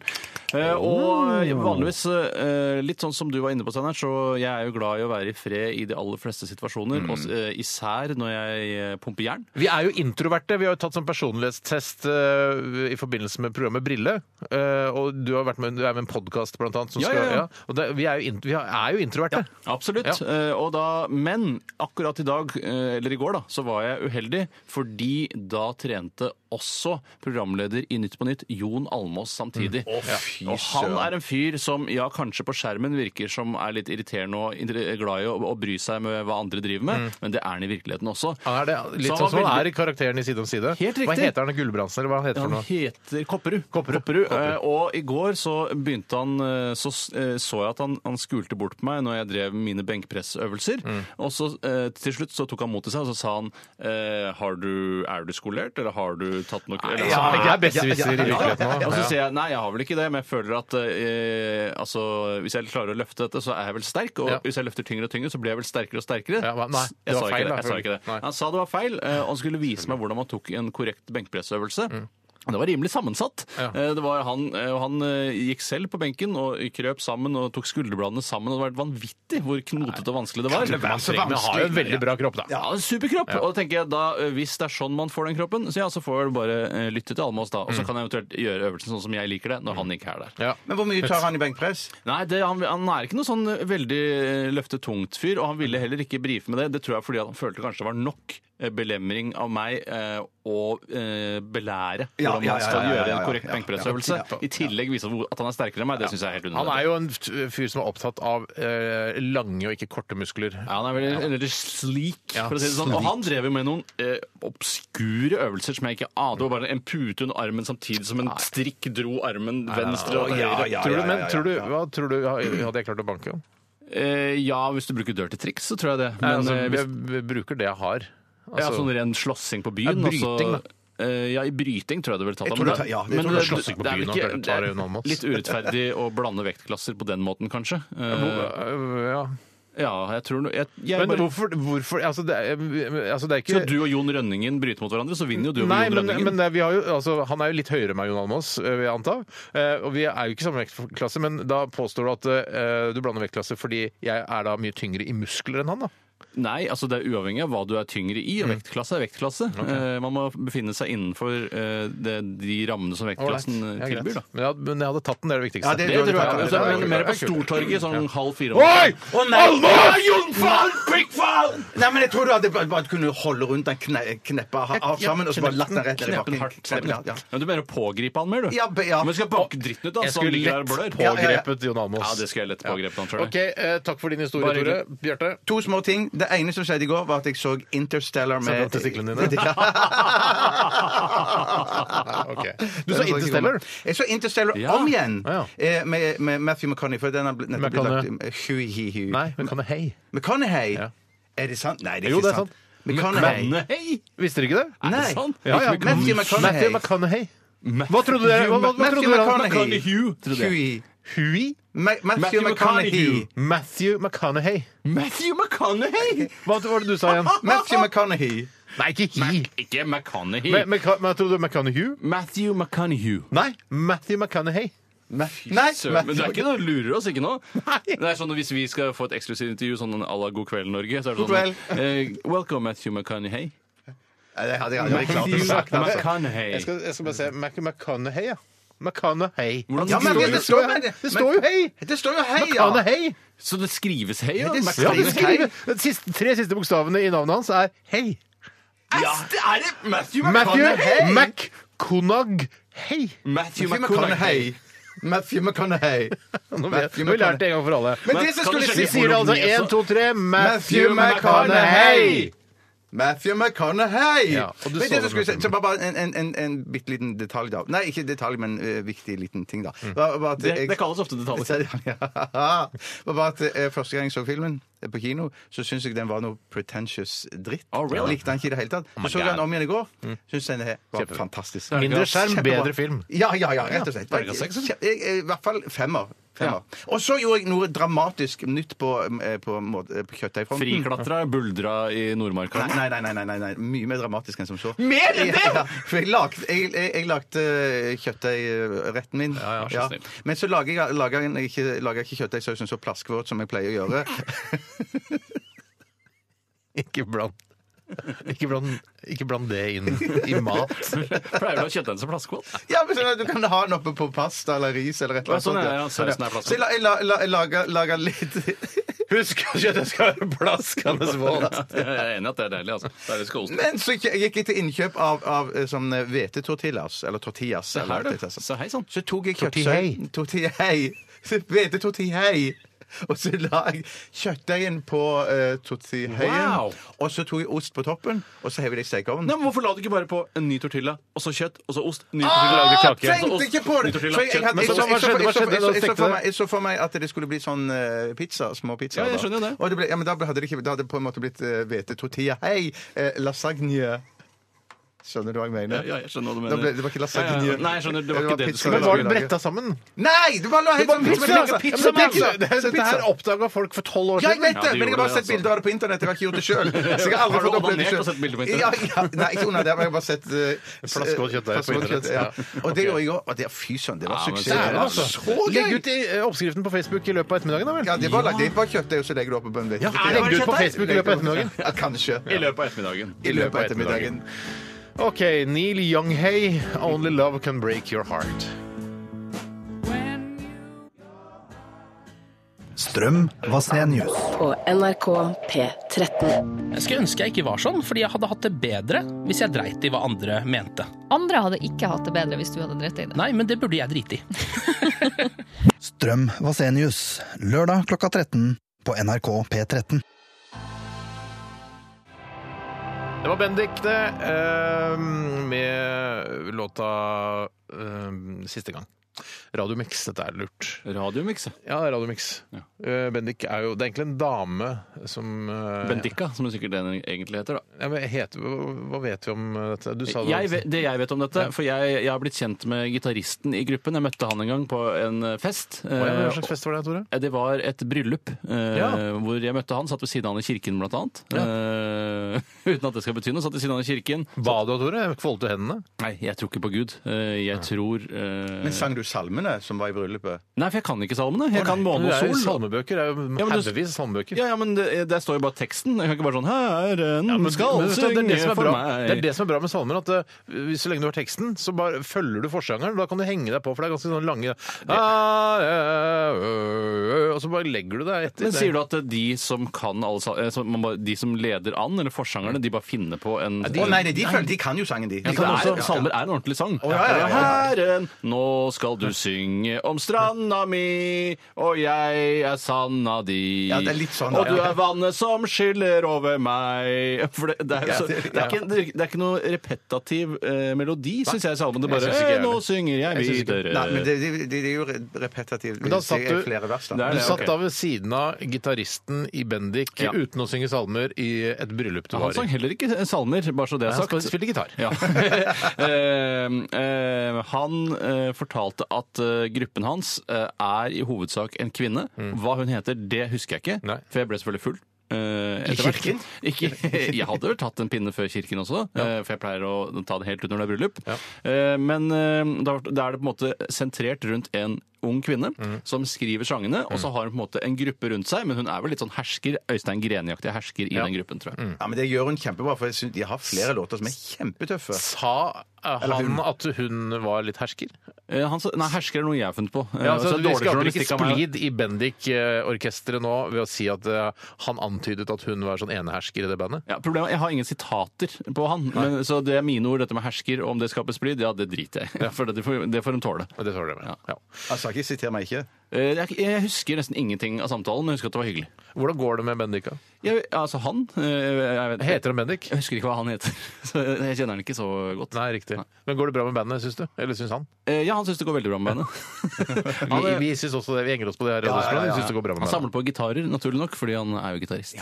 Eh, Og eh, vanligvis, eh, litt sånn som du var inne på, Steinar, så jeg er jo glad i å være i fred i de aller fleste situasjoner. Og, s- eh, især når jeg eh, pumper jern.
Vi er jo introverte. Vi har jo tatt sånn personlighetstest eh, i forbindelse med programmet Brille. Eh, og du, har vært med, du er med i en podkast, blant annet. Som
Ja,
skal,
ja, ja.
Og det, vi, er jo int- vi er jo introverte.
Absolutt.
Ja.
Eh, og da, men akkurat i dag, eh, eller i går, da, så var jeg uheldig, fordi da trente også programleder i Nytt på Nytt, Jon Almås, samtidig.
Mm.
Ja. Og han er en fyr som ja, kanskje på skjermen virker som er litt irriterende og inter- glad i å, å bry seg med hva andre driver med, men det er han i virkeligheten også.
Mm. Han er det, litt
Så
sånn som
var
han
veldig-
er i karakteren i Side om side.
Helt
Hva
riktig.
heter han? Gulbrandsen, eller hva han heter for
Han
noe?
heter Kopperud. Eh, og i går så begynte han eh, Så s- eh, så jeg at han, han skulte bort på meg når jeg drev mine benkpressøvelser. Og så eh, til slutt så tok han mot til seg og så sa han eh, har du, Er du skolert, eller har du tatt noe eller,
Ja,
altså,
det er besserwisser i
ja,
virkeligheten
Og så
nå.
sier jeg nei, jeg har vel ikke det, men jeg føler at eh, altså, hvis jeg klarer å løfte dette, så er jeg vel sterk. Og
Ja.
hvis jeg løfter tyngre og tyngre, så blir jeg vel sterkere og sterkere.
Ja, hva- nei, det
jeg
var
sa ikke
feil, da.
det. Jeg sa ikke det.
Nei.
Han sa det var feil, eh, og han skulle vise meg hvordan man tok en korrekt benkpressøvelse. Det var rimelig sammensatt.
Mm. Ja.
Eh, Det var han, eh, og han eh, gikk selv på benken og krøp sammen og tok skulderbladene sammen. og Det var vanvittig hvor knotete og vanskelig det var.
Ja. Altså, Man trenger, men har jo en veldig bra kropp, da.
Ja, en superkropp! Og da tenker jeg da, eh, Hvis det er sånn man får den kroppen, så ja, så får jeg vel bare eh, lytte til Almås, da. Og
Mm.
så kan jeg eventuelt gjøre øvelsen sånn som jeg liker det, når han ikke er der.
Ja.
Men hvor mye tar han i benkpress?
Nei, det, han, han er ikke noe sånn eh, veldig eh, løftet tungt fyr, og han
Mm.
ville heller ikke brife med det. Det tror jeg fordi at han følte kanskje det var nok eh, belemring av meg eh, å eh, belære
Ja,
hvordan
ja, ja,
man skal
ja, ja,
gjøre
ja,
en
ja,
korrekt
ja, ja.
benkpressøvelse. I tillegg vise hvor- at han er sterkere enn meg, det syns jeg er helt
Han
unødvendig.
er jo en f- fyr som er opptatt av eh, lange og ikke korte muskler.
Ja, han er veldig, veldig sleek,
Ja,
for å si det sånn. Og han drev jo med noen eh, obskure øvelser som jeg ikke ante. Det var bare en pute under armen samtidig som en strikk dro armen venstre og høyre.
Ja, ja,
Tror du,
ja,
men
ja, ja.
tror du, hva tror du Hadde jeg klart å banke ham?
Eh, ja, hvis du bruker dirty tricks, så tror jeg det. Men
Altså,
eh, hvis,
jeg bruker det jeg har.
ja,
Altså-
sånn ren slåssing på byen.
Ja, bryting,
altså, eh, ja, i bryting tror jeg det ville tatt
Jeg
av.
tror
men
det tar- ja, jeg
men
tror
det
det-
slåssing på
det er vel
byen
ikke-
nok, tar en annen måte.
Litt urettferdig å blande vektklasser på den måten, kanskje. Eh,
Hvor- ja.
ja, jeg tror no, jeg, jeg
Men
bare,
hvorfor, hvorfor altså det, er- altså det er ikke
Skal du og Jon Rønningen bryte mot hverandre, så vinner jo du over
Nei,
Jon
men,
Rønningen.
men det, er- vi har jo, altså, han er jo litt høyere enn meg, Jon Almaas, eh, vil jeg anta. Eh, og vi er jo ikke samme vektklasse, men da påstår du at eh, du blander vektklasse fordi jeg er da mye tyngre i muskler enn han, da.
Nei, altså det er uavhengig av hva du er tyngre i. og Vektklasse er vektklasse. Eh, man må befinne seg innenfor eh, det, de rammene som vektklassen
Ålreit.
eh,
Ja, greit.
tilbyr. da.
Men, jeg, hadde- men jeg hadde tatt den, det er det viktigste.
Ja, det-
Det tror jeg.
det-
Altså,
det-
men mer på Stortorget sånn halv fire om
Oi!
morgenen.
Almaas!
Nei, men jeg tror du hadde bare, bare kunne holde rundt den, kne, kneppe ha- av sammen, og så bare latt den rett ned i
Knepen
bakken.
hardt.
Kneppe den hardt, ja.
Men du mener å pågripe han mer, du?
Ja, be- ja.
Men du skal banke dritten ut av
Jeg
han, så han
skulle
ligger der
lett
og blør.
Ja, ja, ja.
pågrepet Jon Almaas.
Ja, det skulle jeg lett pågrepet han, tror jeg.
Ok, eh, takk for din historie,
Bare
Tore. Bjarte?
To små ting. Det ene som skjedde i går, var at jeg så Interstellar
Ser du
med
på testiklene dine? Ok. Du så
Den ikke
Interstellar?
komme. Jeg så Interstellar
Ja.
om igjen!
Ah,
eh, Med, med Matthew McConney. For den har blitt- nettopp blitt lagt
McConaughey.
Hu-hi-hu.
Nei, men kan det hei?
McConaughey?
Ja.
Er det sant? Nei, det er
Jo,
ikke
det er
sant.
sant.
McConaughey.
Hei!
Visste dere ikke det?
Er
Nei.
det sant?
Ja, ja.
Matthew
Matthew McConaughey.
Matthew McConaughey. Hva trodde dere? Hva, hva, hva
Matthew
trodde dere?
McConaughey.
McConaughey, trodde jeg.
Hui.
Hui?
Ma- Matthew
Matthew
McConaughey.
McConaughey.
Matthew MConaughey.
Matthew McConaughey!
Hva var det du sa igjen?
Matthew McConaughey.
Nei, ikke he.
Ikke
Me-
McConaughey.
Meca- Hva trodde du? McConaughey?
Matthew McConaughey.
Nei, Matthew McConaughey.
Nei,
Søren, Men det er ikke noe lurer oss, ikke nå? Det er sånn at Hvis vi skal få et eksklusivt intervju sånn à la God kveld, Norge, så er det
God
sånn eh, Welcome, Matthew McConaughey.
Nei, det hadde jeg aldri klart å sagt.
McConaughey.
Jeg skal, jeg skal bare se. Matthew McConaughey, ja. McConaughey.
Hvordan
Ja, men
skriver
det
du-
står- men-
det står jo hei!
Det står jo hei, ja!
McConaughey!
Så det skrives hei, ja?
Det
Mac-
Ja,
skrives-
det skriver, de siste, tre siste bokstavene i navnet hans er hei.
Ja. Er det Matthew
Matthew McConaughey.
Matthew
Matthew
McConaughey.
McConaughey. Matthew McConaughey.
Nå vet- nå har vi lært det en gang for alle.
Men det som
kan du
skulle
sjekke
Vi
si
sier altså
Bolognese.
én, to, tre Matthew
Matthew McConaughey!
McConaughey!
Matthew McConaughey!
Ja, og du så
men det
det,
som skulle si,
Matthew.
så bare, bare en, en, en, en bitte liten detalj, da. Nei, ikke detalj, men eh, viktig liten ting, da.
Mm.
Bare, bare at
Det,
jeg-
det kalles ofte detaljer.
Ja, Det var at eh, Første gang jeg så filmen eh, på kino, så syntes jeg den var noe pretentious dritt.
Oh, really?
Likte den ikke i det hele tatt. Så så
Oh God.
jeg
Mm.
den om igjen i går. Syns den er- var
Kjempebra.
fantastisk.
Mindre skjerm,
Kjempebra.
bedre film.
Ja, ja, ja, rett og slett.
Ja, terningkast seks, eller?
Kje- jeg- jeg- I hvert fall femmer. femmer. Og så gjorde jeg noe dramatisk nytt på, eh, på, må- eh, på kjøttdeigfronten.
Friklatra, buldra i Nordmarka.
Nei, nei, nei, nei, nei, nei. Mye mer dramatisk enn som så.
Mer enn det?!
Ja, for jeg lagde, jeg, jeg, jeg lagde eh, kjøttdeigretten min.
ja, så snill.
Men så lager jeg, lager jeg ikke, lager jeg ikke kjøttdeigsausen så plaskvåt som jeg pleier å gjøre.
Ikke bland ikke bland, ikke bland det inn i mat.
Pleier du å ha kjøttdeig som plaskevåt?
Ja, men så, Du kan ha den oppe på pasta eller ris eller et eller
Ja, sånn er det, ja.
annet.
Sausen er plaskvåt.
så jeg, la, jeg, la, la, jeg lager, lager litt
Husk at det skal være plaskende våt.
Jeg er enig i at det er deilig. altså. Det er litt skålstøt.
Men så gikk jeg til innkjøp av, av eh, sånn eh, hvetetortillas. Eller tortillas.
Se her,
eller,
du. Se hei sånn.
Så tok jeg
Tortillei.
kjøttdeig Tortillei. Hvete tortillei. Og så la jeg kjøttdeigen på uh, tortilleien.
Wow.
Og så tok jeg ost på toppen, og så hev jeg det i stekeovnen.
Nei, men Hvorfor la du ikke bare på en ny tortilla, og så kjøtt, og så ost? Ny
Ah,
tortilla,
jeg tenkte ikke på det!
Ny tortilla,
For jeg- jeg
kjøtt.
hadde- sånn-
Men
jeg
så-
så-
hva
jeg så-
skjedde- hva
jeg så-
skjedde
jeg
da du
så- jeg så for
stekte
meg- jeg så for meg at det skulle bli sånn eh, pizza. Små pizzaer.
Ja, jeg
da.
skjønner det.
Og det ble, ja, men da ble- hadde det ikke Da hadde det på en måte blitt eh, hvete tortilla. Hei, eh, lasagne. Skjønner du hva jeg mener?
Ja, jeg skjønner hva du
Da
mener.
ble, det var ikke lasagne.
Ja, ja, ja. Nei, jeg skjønner, det var ikke det du
pizza.
skulle
Men var det bretta sammen?
Nei! Det var noe helt
Det var
sånn
pizza, altså. Ja, men det er ikke- det er-
Så
Dette her oppdaga folk for tolv år
Ja, jeg
siden.
vet
Ja, du
det, men jeg har
gjorde
bare
det,
sett
altså.
bilder av det på internett. Jeg har ikke gjort det sjøl. Så jeg har aldri
Har du
fått oppleve det
onanert
selv.
og sett bilder på
Ja,
internett?
ja, nei, ikke onanert, men jeg har bare sett uh,
Flaskevått kjøttdeig på internett.
Ja.
Ja.
Og det gjorde jeg òg. Og det, fy søren, det var
Ja, men
suksess.
det
Dæven,
er
altså.
Så
Legg
gøy!
ut i, eh, oppskriften på Facebook i løpet av ettermiddagen, da vel?
Ja, det var lagt inn på kjøttdeig, og så legger du opp på en
Ja, legg det ut på Facebook i løpet av ettermiddagen.
Ja, kanskje.
I løpet av ettermiddagen.
I løpet av ettermiddagen.
OK. Neil Younghey, 'Only Love Can Break Your Heart'.
Strøm var Vasenius.
På NRK P13.
Jeg skulle ønske jeg ikke var sånn, fordi jeg hadde hatt det bedre hvis jeg dreit i hva andre mente.
Andre hadde ikke hatt det bedre hvis du hadde dritt deg i det.
Nei, men det burde jeg drite i.
Strøm Vasenius, lørdag klokka 13 på NRK P13.
Det var Bendik, det. eh, Med låta eh, 'Siste gang'. Radiomix, dette er lurt.
Radiomikse.
Ja, det er Radiomix. Eh, Bendik er jo Det er egentlig en dame som eh,
Bendikka, som det sikkert den egentlig heter. da.
Ja, men heter, hva- hva vet vi om eh, dette? Du sa det.
Jeg vet, det jeg vet om dette, for jeg, jeg har blitt kjent med gitaristen i gruppen. Jeg møtte han en gang på en fest.
Å, ja,
eh,
Hva slags fest var det, Tore?
Eh, Det var et bryllup eh,
Ja.
hvor jeg møtte han. Satt ved siden av han i kirken, blant annet. Eh, uten at det skal bety noe. Satt ved siden av han i kirken.
Ba du, Tore? Foldet du hendene?
Nei, jeg tror ikke på Gud. Eh, jeg tror eh,
Men sang du salmene som var i bryllupet?
Nei, for jeg kan ikke salmene. Jeg kan
Du
måne
er jo
og sol.
salmebøker. Det er jo
Ja, men du-
haugevis av salmebøker.
Ja, ja, men det, der står jo bare teksten. Jeg kan ikke bare sånn Herren
Men-
skal
Mm. men vet du, det,
synge
er det, som er
for
bra,
meg.
det er det som er bra med salmer, at eh, hvis så lenge du har teksten, så bare følger du forsangeren. Da kan du henge deg på, for det er ganske sånn lange Ah, eh, Og så bare legger du deg etter.
Men sier du at de som kan alle sa- eh, som man bare- De som leder an, eller forsangerne, de bare finner på en
Å nei, nei, de, føl- de kan jo sangen, de.
Ja,
de
for
kan
det
også-
er, salmer er en ordentlig sang.
ja, ja, ja.
Herren, nå skal du synge om stranda mi, og jeg er sanda di.
Ja, det er litt sånn,
og
ja.
du er vannet som skyller over meg. For det, det, er,
Ja,
så, det,
det-
er ikke, det er ikke noe repetativ eh, melodi, syns jeg, i salmen. Det
Jeg
er bare
synes ikke jeg
«Eh, Nå synger jeg
synes ikke-
videre.
Nei, men det, det, det er jo repetitivt.
Men da satt du-
flere vers,
Det
da.
er
Du
det,
satt
ok.
da ved siden av gitaristen i Bendik
Ja.
uten å synge salmer i et bryllup du
Han
var
sang
i.
heller ikke salmer, bare så det er
Han
sagt.
skal spille gitar.
Ja. Eh, eh, han eh, fortalte at eh, gruppen hans eh, er i hovedsak en kvinne. Hva hun heter, det husker jeg ikke,
Nei.
for jeg ble selvfølgelig full. eh, etter hvert.
kirken?
Ikke, jeg hadde vel tatt en pinne før kirken også, eh, for jeg pleier å ta det helt ut når det er bryllup.
Ja.
Eh, Men eh, da da er det på en måte sentrert rundt en ung kvinne som skriver sangene, og så har hun på en måte en gruppe rundt seg, men hun er vel litt sånn hersker, Øystein Greniaktig hersker i den gruppen, tror jeg.
Ja, men Det gjør hun kjempebra, for jeg synes de har flere låter som er kjempetøffe.
Sa eh, han at hun var litt hersker?
Eh, Han sa, nei, hersker er noe jeg har funnet på. Eh,
Ja, altså,
så det er
vi
dårlig
skaper ikke
journalistikk av meg.
splid i Bendik-orkesteret nå ved å si at eh, han antydet at hun var sånn enehersker i det bandet.
Ja, problemet, er, Jeg har ingen sitater på han, men, så det er mine ord, dette med hersker. og Om det skaper splid, ja, det driter jeg i. For det får, det får hun tåle.
Og Det tåler jeg med. Ja.
Altså, ikke siter meg ikke.
Eh, Jeg, jeg husker nesten ingenting av samtalen, men jeg husker at det var hyggelig.
Hvordan går det med Bendik? da?
Jeg, altså han eh, jeg, vet,
Heter han Bendik?
jeg husker ikke hva han heter. Så jeg kjenner han ikke så godt.
Nei, riktig. Men går det bra med bandet, syns du? Eller syns han?
Eh, Ja, han syns det går veldig bra med bandet.
Vi, vi syns også det. Vi henger oss på det her. Ja, Vi syns det går bra med
Han
bandet.
samler på gitarer, naturlig nok, fordi han er jo gitarist.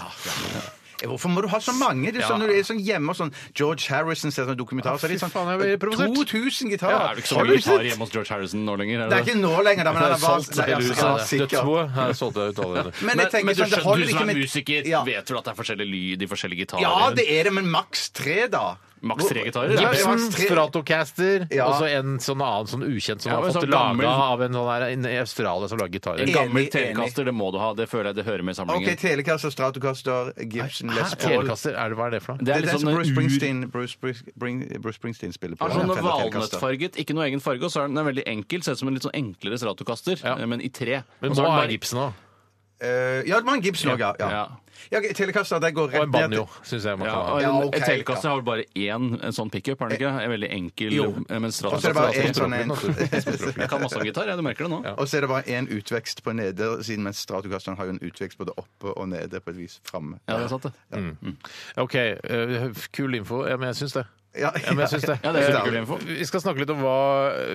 Eh, Hvorfor må du ha så mange? Det er sånn, når du er sånn hjemme og sånn George Harrison ser sånn dokumentar, så er det
Fy
sånn
faen, jeg blir provosert.
Ja,
2000 gitarer.
er det ikke så mye gitarer hjemme hos George Harrison nå lenger? Er
Det er ikke nå lenger, da, men han er valgt.
Solgt
Nei,
hele
altså,
huset.
ja, sikkert.
Dødsboet her solgte jeg ut allerede.
Men
Men,
jeg tenker
men du,
sånn, det
skjønner- du
holder
som
ikke
er
med
musiker,
Ja.
vet du at det er forskjellig lyd i forskjellige gitarer?
Ja, det er det, men maks tre, da.
Maks tre gitarer?
Ja,
det er
Gibson,
maks tre.
Stratocaster
Ja.
og så en sånn annen sånn ukjent som
Ja,
har
en
fått
sånn
laga
gammel-
av en sånn her en australier som lager gitarer.
En
Enig,
gammel
enig.
telekaster, det må du ha. Det føler jeg det hører med i
OK,
samlingen.
Telecaster, Stratocaster, Gibson,
Hæ?
Les Paul.
Telekasser, er det, hva er det for noe?
Det
Det
er
er
litt
den som
sånn
Bruce
ur...
Springsteen, Bruce, Spring- Bring- Bruce Springsteen spiller på.
Er sånn
Han har fem telecaster.
valnøttfarget, ikke noe egen farge, og så er den den er veldig enkel, ser ut som en litt sånn enklere stratokaster,
Ja.
men i tre.
Men
Og
nå
så
er
den bare-
Gibson òg.
Eh, ja, det var en Gibson òg, ja. ja.
Ja.
ja ok, Telecaster, det går
Og
rett
en
ned
banjo,
til
syns jeg man
Ja,
kan ha.
og en,
Ja, ok,
en telekaster
ja.
har vel bare én en sånn pickup, er den ikke? En veldig enkel,
Jo.
eh, men
Og så er det bare en
stratokaster
sånn en
Jeg kan masse om gitar, jeg, du merker det nå.
Og så er det bare én utvekst på nedersiden, mens Stratocasteren har jo en utvekst både oppe og nede, på et vis framme.
Ja, det er sant, det.
OK, eh, kul info. Ja, men jeg syns det.
Ja,
Ja, men jeg syns det.
Ja, det er veldig kul info.
Vi skal snakke litt om hva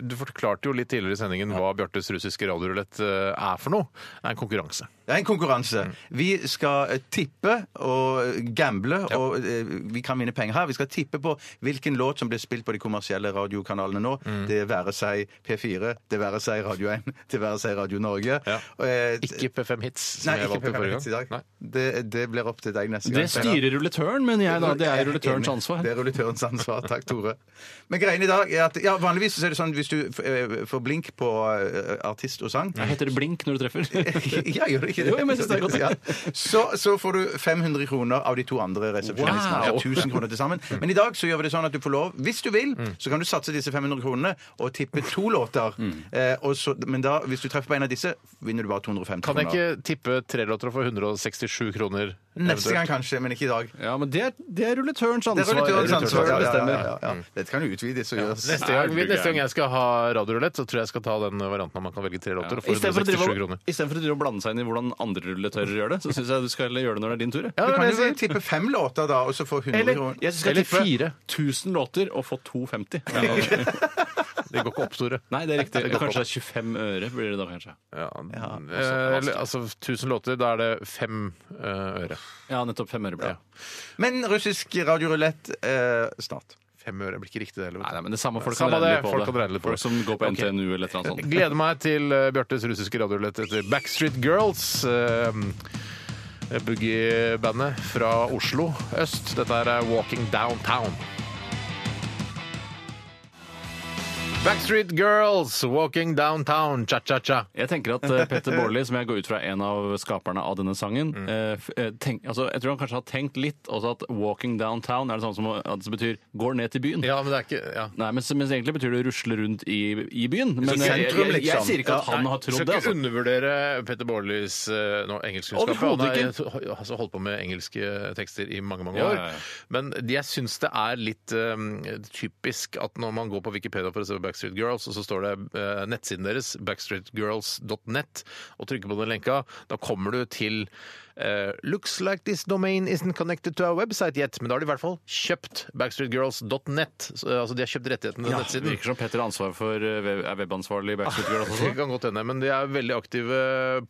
Du forklarte jo litt tidligere i sendingen hva Bjartes russiske radiorulett eh, er for noe. Det er en konkurranse.
Det er en konkurranse.
Mm.
Vi skal eh, tippe og eh, gamble, og eh, vi kan vinne penger her. Vi skal tippe på hvilken låt som blir spilt på de kommersielle radiokanalene nå.
Mm.
Det være seg P4, det være seg Radio 1, det være seg Radio Norge.
Ja.
Og, eh,
Ikke P5 Hits, som
Nei,
jeg
ikke
valgte
P4
forrige
Hits i dag.
gang. Nei.
Det, det blir opp til deg neste
Det
gang. Steinar.
styrer rulletøren, mener jeg da. Det er rulletørens
Enig.
ansvar.
Det er rulletørens ansvar. Takk, Tore. Men greien i dag er at ja, vanligvis så er det sånn hvis du eh, får blink på eh, artist og sang
Heter det blink når du treffer?
ja, gjør det ikke det?
Jo, jeg synes det er godt.
Ja. Så, så får du 500 kroner av de to andre resepsjonistene.
Wow.
Ja, 1000 kroner til sammen. Men i dag så gjør vi det sånn at du får lov, hvis du vil, så kan du satse disse 500 kronene og tippe to låter.
Mm.
Eh, og så, men da, hvis du treffer på en av disse, vinner du bare 250
Kan jeg
kroner.
ikke tippe tre låter og få 167 kroner?
Neste gang kanskje, men ikke i dag.
Ja, men det er, det er rulletørens
Det er
ansvar.
rulletørens ansvar. Ja, ja,
bestemmer.
ja, ja, ja. Dette kan jo utvides og gjøres.
Neste gang, neste gang jeg skal ha radiorulett, så tror jeg jeg skal ta den varianten om man kan velge tre låter og få
I stedet for å
167
drive-
kroner.
i stedet for å drive og blande seg inn i hvordan andre rulletører gjør det, så syns jeg du skal gjøre det når det er din tur. jeg.
Ja,
Du
men
kan
jeg
jo
sier-
tippe fem låter, da, og så få 100 kroner.
jeg skal
Eller
tippe
fire.
1000 låter og få 250.
Det går ikke opp, Tore.
Nei, det er riktig.
Det går
Kanskje det er 25 øre blir det da, kanskje.
Ja, eh, eller, altså 1000 låter, da er det fem eh, øre.
Ja, nettopp 5 øre blir det.
Men russisk radiorulett eh, snart.
Fem øre blir ikke riktig, det heller.
Nei,
vet
nei, men det samme folk
Samme
kan regne
det,
litt på
folk
det.
kan regne litt på det.
Folk som går på
Ok.
NTNU eller et eller annet
du.
sånt.
Gleder meg til eh, Bjartes russiske radiorulett etter Backstreet Girls. eh, Boogie-bandet fra Oslo øst. Dette her er Walking Downtown. Backstreet Girls, Walking Downtown, cha-cha-cha.
Jeg tenker at eh, Petter Baarli, som jeg går ut fra er en av skaperne av denne sangen
Mm.
eh, f- eh, tenk, altså, Jeg tror han kanskje har tenkt litt også at 'walking downtown' er det samme som at det betyr 'går ned til byen'.
Ja, men det er ikke ja.
Nei, men, men egentlig betyr det 'rusle rundt i, i byen'. Men
sentrum,
jeg, jeg, jeg,
liksom.
sier ikke at
Ja,
han har trodd
eh, Skal
det.
ikke
Altså.
undervurdere Petter Baarlis eh, nå, engelskkunnskap. Han
Overhodet
har eh, altså, holdt på med engelske eh, tekster i mange mange
Ja,
år.
ja, ja.
Men de- jeg syns det er litt eh, typisk at når man går på Wikipedia for å se på Backstreet Girls, og så står det eh, nettsiden deres, backstreetgirls.net, og trykker på den lenka, da kommer du til eh, looks like this domain isn't connected to our website yet. Men da har de i hvert fall kjøpt backstreetgirls.net. Så, eh, Altså de har kjøpt rettighetene til
Ja, det
nettsiden.
virker som Petter har ansvar for eh, web, er webansvarlig i Backstreet Girls
Det
også.
kan godt hende, men de er veldig aktive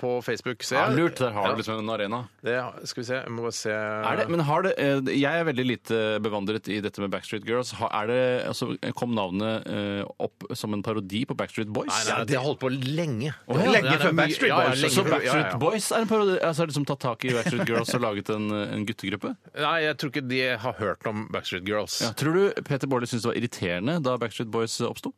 på Facebook, ser
Ja,
jeg.
lurt. Der har
Ja.
du liksom en arena.
Det, skal vi se, jeg må bare se
Er det, men har det, eh, jeg er veldig lite bevandret i dette med Backstreet Girls. Har- Er det, altså, kom navnet eh, opp som en parodi på Backstreet Boys?
Nei, nei, det har holdt på lenge.
ja.
Nei,
Lenge
det er
før
mye-
Backstreet
ja, ja,
Boys.
lenge
Så
før-
Backstreet
ja, ja.
Boys er en parodi? Altså, har de liksom tatt tak i Backstreet Girls og laget en, en guttegruppe?
Nei, jeg tror ikke de har hørt om Backstreet Girls.
Tror du Peter Baarli syntes det var irriterende da Backstreet Boys oppsto?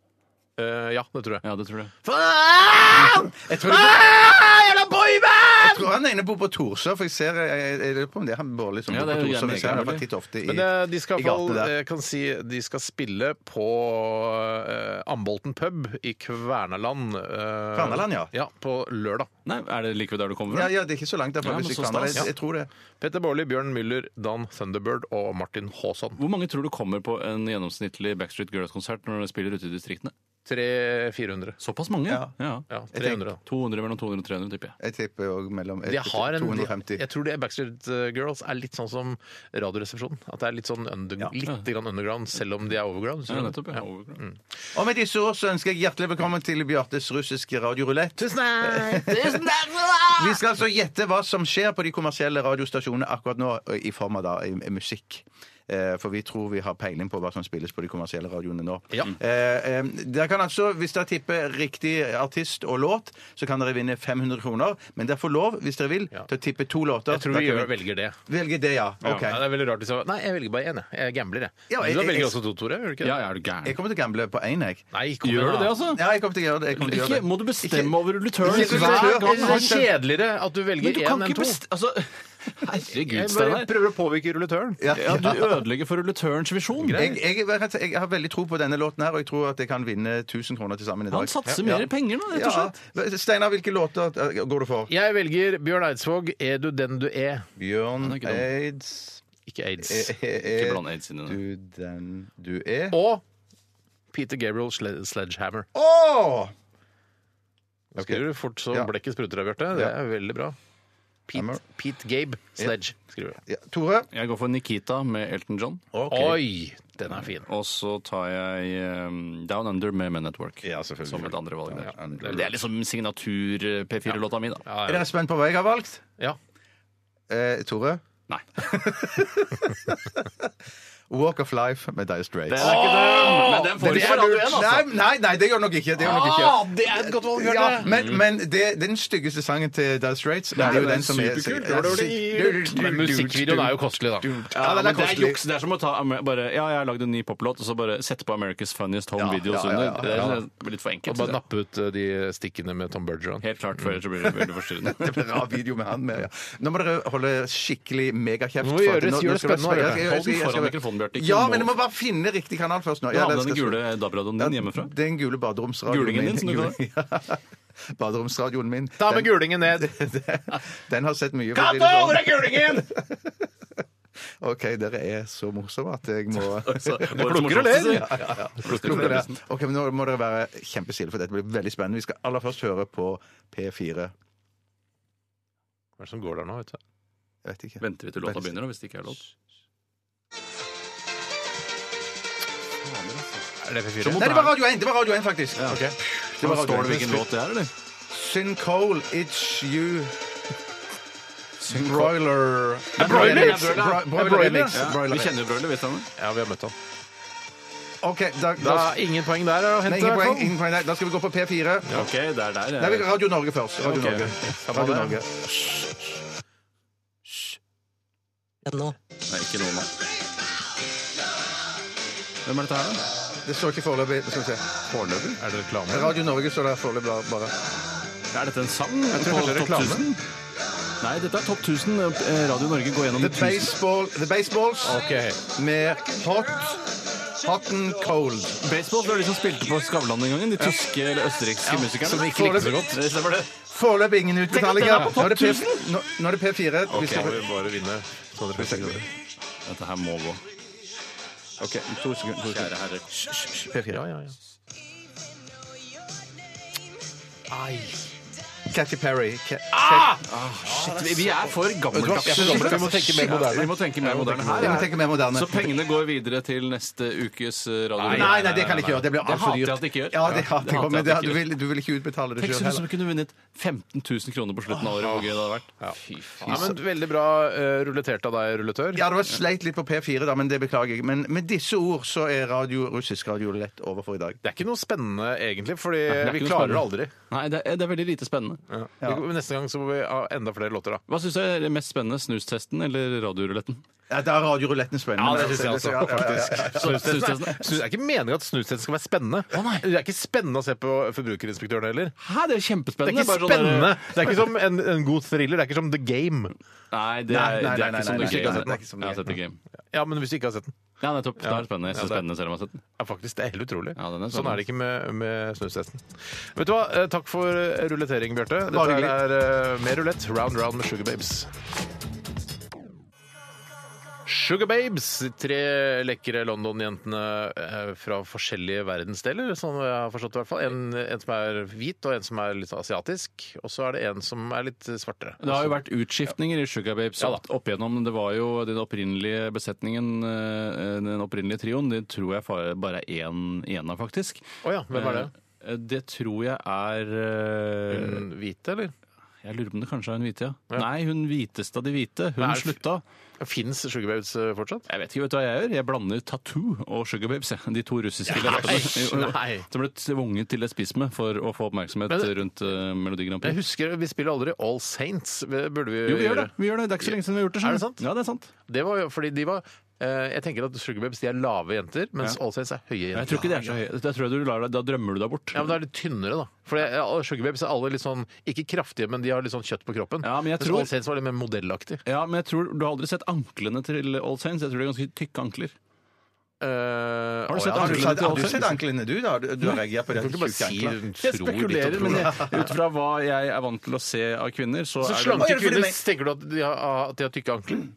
Eh, ja, det tror jeg.
Ja, det tror jeg.
Faen! Jeg tror,
Ah, Jævla boyband!
jeg tror han ene bor på Torsø, for jeg ser jeg, jeg, jeg lurer på om det er han Bårli som
Ja,
bor
det
på
er jo
Torsø. men Jeg ser han i
gjerne
hvert fall titt ofte i
Men eh, de skal i
i
hvert fall,
gatene der.
jeg kan si, de skal spille på eh, Ambolten pub i Kvernaland. eh,
Kvernaland, ja.
Ja, På lørdag.
Nei, Er det likevel der du kommer
ja,
fra?
ja, det er ikke så langt derfra.
Ja, men
hvis jeg
så
kan.
stas.
Jeg, jeg tror det.
Petter Baarli, Bjørn Müller, Dan Thunderbird og Martin Haasson.
Hvor mange tror du kommer på en gjennomsnittlig Backstreet Girls-konsert når de spiller ute i distriktene?
300-400.
Såpass mange?
Ja.
Ja, 300. da.
200, mellom 200 og 300, tipper jeg.
Jeg tipper òg mellom
De har en,
250.
jeg tror det Backstreet Girls er litt sånn som Radioresepsjonen. At det er litt sånn under, litt grann underground, selv om de er overground.
Ja,
skjønner du?
nettopp. Ja. Overbra.
Og med disse ord så ønsker jeg hjertelig velkommen til Bjartes russiske radiorulett. Tusen takk! Vi skal altså gjette hva som skjer på de kommersielle radiostasjonene akkurat nå, i form av da i- i musikk. Eh, For vi tror vi har peiling på hva som spilles på de kommersielle radioene nå.
Ja.
Eh, eh, dere kan altså, Hvis dere tipper riktig artist og låt, så kan dere vinne 500 kroner. Men dere får lov, hvis dere vil,
Ja.
til å tippe to låter.
Jeg tror vi
Dere
gjør,
kan
velger det.
Velge det, ja. Ok.
Ja, det er veldig rart hvis jeg Nei, jeg velger bare én, jeg. Jeg gambler, jeg.
Ja, jeg-
du
jeg-
velger
jeg-
også to, Tore? Gjør du ikke
Ja, ja, er du
Jeg
gæren?
kommer til å gamble på én, jeg.
Nei, kom
Gjør
igjen,
du det,
da.
altså?
Ja, jeg kommer til å gjøre det. Jeg kommer til å gjøre
Ikke,
det.
må du bestemme over return?
Ikke-
Hver
Jeg
gang.
synes det er kjedeligere at du
Men
velger
du
én
kan
enn
ikke
to.
bestemme altså,
Jeg
Herregud,
bare
Steinar.
prøver å påvirke rulletøren.
Ja.
Ja, du ødelegger for rulletørens visjon.
Jeg, jeg, er rett- jeg har veldig tro på denne låten her, og jeg tror at jeg kan vinne 1000 kroner til sammen i dag.
Han satser mer penger nå, rett og slett.
Ja. Steinar, hvilke låter eh, går du for?
Jeg velger Bjørn Eidsvåg, 'Er du den du er'?
Bjørn
er ikke dum.
Aids
Ikke
eh,
aids.
eh, eh,
Ikke bland aids inn i det.
Du den du er Å!
Og Peter Gabriel Sle- Sledgehammer. Skriver du fort så
Ja.
blekket spruter av, Bjarte. Det
Ja.
er veldig bra. Pete,
Hammer.
Pete Gabe Sledge, skriver du.
Ja, Tore?
Jeg går for Nikita med Elton John.
Oi, den er fin.
Og så tar jeg eh, Down Under med Men Network.
Ja, selvfølgelig.
Som et andre valg.
Down Under.
der. Det er liksom signatur-P4-låta mi, da.
Er dere spent på hva jeg har valgt?
Ja.
Eh, Tore?
Nei.
Walk of Life med Dire Straits.
er ikke altså. den! Men den får du ikke for alt du er, da.
Nei, nei, nei, det gjør nok ikke. Det gjør nok ikke.
det er et godt valg,
Ja, men, men det, det er den styggeste sangen til Dire Straits. Men det er jo den som er
Men musikkvideoen er jo kostelig, da.
Ja,
Ja, den er
men det er
kostelig.
juks. Det er som å ta Amer- bare, Ja, jeg har lagd en ny poplåt, og så bare sette på America's Funniest Home Videos
ja, ja, ja,
under. Det er- Det blir litt for
Og
enkelt.
bare
synes
nappe
jeg.
ut eh, de stikkene med Tom Bergeron.
Helt klart, for ellers så blir det veldig forstyrrende.
Det blir en rar video med han med, ja. Nå må dere holde skikkelig megakjeft.
Nå må
for at-
gjøre det- gjør det
skal dere-
spennende,
jeg- jeg- jeg-
Hold den
jeg- jeg-
foran mikrofonen, Bjarte, ikke
Ja,
nå.
men du må bare finne riktig kanal først nå.
Du
Ja,
hadde
den
den
skal-
gule DAB-radioen din hjemmefra?
Den gule baderomsradioen
Gulingen din, som du kaller
Ja, Baderomsradioen min.
Ta med
Den,
gulingen ned!
den har sett mye. for å si det
Kato, hvor
sånn.
er gulingen?!
OK, dere er så morsomme at jeg må
Plukker
eller?
Plukker det. Ok, men Nå må dere være kjempestille, for dette blir veldig spennende. Vi skal aller først høre på P4.
Hva er det som går der nå, vet du?
Jeg vet ikke.
Venter vi til låta begynner, da, hvis det ikke er låt?
Er det P4?
Nei, det var Radio 1, det var Radio 1 faktisk.
Ja.
Ok. Det var
Står det
Radio 1.
hvilken låt det er, eller?
Syn Cole, it's you. Broiler
Broiler?
Bro-
Broiler,
Broiler mix.
Ja,
Broiler
vi
mix.
kjenner jo Broiler, vet du det?
Ja, vi har møtt han.
OK, da,
Da,
da,
ingen poeng der å
nei,
hente. i
ingen
hvert
poeng,
fall.
ingen poeng der. da skal vi gå på P4.
Ok, det er der.
Nei, vi-
jeg-
Radio Norge først. Radio
Ok.
Norge.
Samme
Radio
det.
Norge.
Nei, ikke noe nå. Hvem er dette her, da?
Det står ikke foreløpig. Skal vi se. Foreløpig?
Er det reklame?
Radio Norge står der foreløpig bare- bare.
Er dette en sang?
tror kanskje det er reklame.
Nei, dette er Topp 1000. Eh, Radio Norge går gjennom
The
1000.
Baseball, The Baseballs
Ok.
med Hot Hot and Cold.
Baseball var de som spilte på Skavlan den gangen. De tyske eller østerrikske musikerne.
Som ikke likte så godt.
Det stemmer, det.
Foreløpig ingen utbetalinger.
Tenk at den er på
Nå er det P- nå- nå er det P4. Vi skal
Skal vi bare vinne 250 kroner?
Dette her må gå.
OK, to sekunder. To sekunder.
Kjære herre.
P4.
Ja, ja, ja.
Katy Perry. Ka
Ah, Vi- Vi er for gammeldags.
Jeg er for gammel. Vi må tenke mer moderne.
Vi må tenke mer moderne
Jeg må
her.
tenke mer moderne.
Så pengene går videre til neste ukes eh, Radio
Nei,
Norge.
nei, det kan jeg ikke gjøre. Det blir
Det
altfor
hater
dyrt.
jeg at det ikke gjør.
Ja, det hater
Det
jeg
hater
også, men
jeg at
det-
det
du
ikke
vil, du vil ikke utbetale det
Tenk
sjøl
så du som
heller.
kunne vunnet 15 000 kroner på slutten av året. Hvor gøy det hadde vært. Fy
Ja,
faen.
men Veldig bra eh, rulletert av deg, rulletør.
Ja, det var sleit litt på P4, da, men det beklager jeg. Men med disse ord så er radio, russisk radio lett over for i dag.
Det er ikke noe spennende, egentlig, fordi
det er
eh, vi
ikke noe
klarer det
spennende.
aldri.
Nei, det er, det er veldig lite spennende.
Ja. Vi- Neste gang så må vi ha enda flere låter, da.
Hva syns du er det mest spennende, snustesten eller radioruletten?
Ja, da er radioruletten spennende.
Ja, det synes jeg også,
Ja, ja, ja, ja.
Snustesten er, snu- det er ikke meningen at snustesten skal være spennende. Det er ikke spennende å se på Forbrukerinspektøren heller.
Hæ, det er
Det er
kjempespennende!
ikke
Bare sånn der-
spennende! Det er ikke som en, en god thriller. Det er ikke som The Game.
Nei, det
Nei,
er,
nei,
det
nei,
er
nei,
ikke som The
nei, nei,
Game.
nei,
Jeg
det er ikke som The
har sett The Game.
Ja, men hvis du ikke har sett den
Ja, nettopp. Da er det spennende. Jeg
Ja,
synes
det er-
spennende selv om jeg har sett den.
Ja, faktisk. Det er helt utrolig.
Ja, den er
sånn
spennende.
er det ikke med, med snustesten. Vet du hva, eh, takk for eh, rullettering, Bjarte. Dette
Bare
her er eh, mer rulett. Round round med Sugar Babes. Sugar Babes, de tre lekre London-jentene eh, fra forskjellige verdensdeler, som jeg har forstått i hvert fall. En, en som er hvit, og en som er litt asiatisk, og så er det en som er litt svartere.
Det har jo vært utskiftninger i Sugar Babes
Ja da.
opp, opp igjennom. Det var jo den opprinnelige besetningen, eh, den opprinnelige trioen, det tror jeg fa- bare er én én av, faktisk.
Å ja, hvem er det?
Eh, Det tror jeg er eh,
Hun hvite, eller?
Jeg lurer på om det kanskje er hun hvite, ja. Nei, hun hviteste av de hvite. Hun
Nei, er det-
slutta.
Fins Sugar Babes eh, fortsatt?
Jeg vet ikke, vet du hva jeg gjør? Jeg blander tattoo og Sugar Babes, jeg. de to russiske leverne.
nei.
Som ble tvunget til lesbisme for å få oppmerksomhet
Men det-
rundt eh, Melodi Grand
Jeg
Prix.
husker, Vi spiller aldri All Saints. Burde vi
Jo, vi gjør det. vi gjør Det Det er ikke så lenge siden vi har gjort det.
Er det
skjønner du.
sant?
Ja, det er sant.
Det var jo fordi de var eh, Jeg tenker at Sugarbabes de er lave jenter, mens
Ja.
All Saints er høye
Jeg
jenter.
tror ikke det er så høy. Da, tror jeg du lar deg, da drømmer du deg bort.
Ja, men Da er de tynnere, da. For det- ja, Sugarbabes er alle litt sånn ikke kraftige, men de har litt sånn kjøtt på kroppen.
Ja, men jeg
mens
tror-
All Saints var litt mer modellaktig.
Ja, men jeg tror, Du har aldri sett anklene til All Saints. Jeg tror det er ganske tykke ankler.
Eh,
Har du
å,
sett
ja,
Har du
anklene
sett-
til
Har
All
du sett
Saints?
anklene, du? da? Du du har reagert på det.
Du kan ikke bare si
Tjuke ankler.
hun
Jeg
tror
spekulerer,
ditt og
men
tror.
jeg, ut fra hva jeg er vant til å se av kvinner, så,
Så
er
slanke
det
kvinner tenker du at de har, at de har tykke ankler?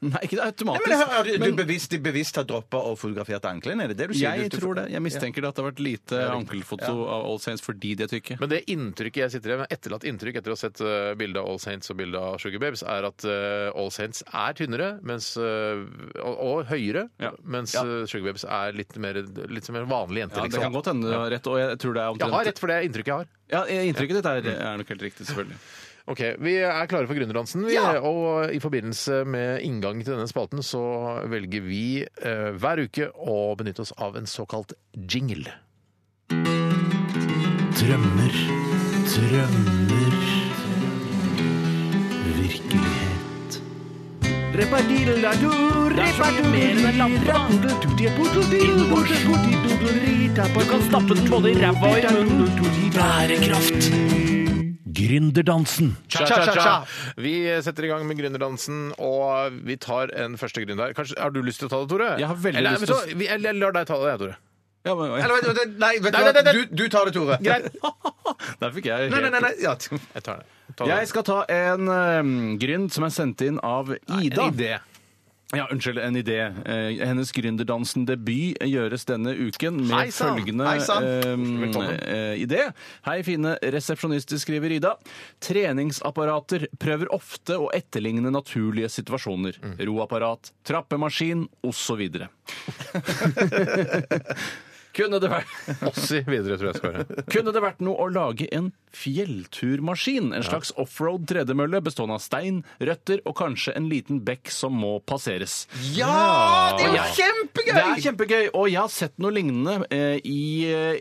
Nei, ikke det er
Nei,
automatisk.
men jeg har- har Du bevisst, de bevisst har droppa og fotografert anklene? Er det det du sier?
Jeg
Du-
tror det. Jeg mistenker det at det har vært lite ankelfoto av All Saints fordi de er tykke.
Men det inntrykket jeg sitter igjen med, etterlatt inntrykk etter å ha sett eh, bilde av All Saints og bilde av Sugar Babes, er at eh, All Saints er tynnere mens, eh, og, og høyere,
Ja.
mens
Ja.
eh, Sugar Babes er litt mer, litt som en vanlig jente.
Ja, det kan
liksom.
godt hende du har Mm. rett. Og jeg tror det er
Jeg har rett for det inntrykket jeg har.
Ja, inntrykket ditt er, er nok helt riktig, selvfølgelig.
Ok, Vi er klare for Gründerdansen. vi, Og eh, i forbindelse med inngangen til denne spalten så velger vi eh, hver uke å benytte oss av en såkalt jingle.
Drømmer, drømmer, virkelighet.
Du kan stappe den både i ræva og i munnen.
Gründerdansen.
Cha-cha-cha! Vi setter i gang med gründerdansen, og vi tar en første gründer. Kanskje, har du lyst til å ta det, Tore?
Jeg har veldig
Eller,
lyst
vet du
til å-
hva, vi- Jeg jeg lar deg ta det, jeg, Tore.
Ja, men,
Eller vet du hva, Nei, vet
Nei, nei, nei,
du hva? Du, du tar det, Tore.
Greit.
Der fikk jeg
Nei, nei, nei. nei. Ja.
Jeg tar det. Ta det.
Jeg skal ta en eh, grind som er sendt inn av Ida.
En idé.
Ja, unnskyld, en idé. Eh, hennes gründerdansen-debut gjøres denne uken med
Hei sann!
følgende
Hei sann!
eh,
Velkommen.
eh, idé. Hei, fine resepsjonister, skriver Ida. Treningsapparater prøver ofte å etterligne naturlige situasjoner.
Mm.
Roapparat, trappemaskin osv. Kunne det vært
Ossi videre, tror jeg skal være.
kunne det vært noe å lage en fjellturmaskin? En slags offroad tredemølle bestående av stein, røtter og kanskje en liten bekk som må passeres.
Ja, det er jo
Ja.
kjempegøy!
Det er kjempegøy, og jeg har sett noe lignende eh, i eh,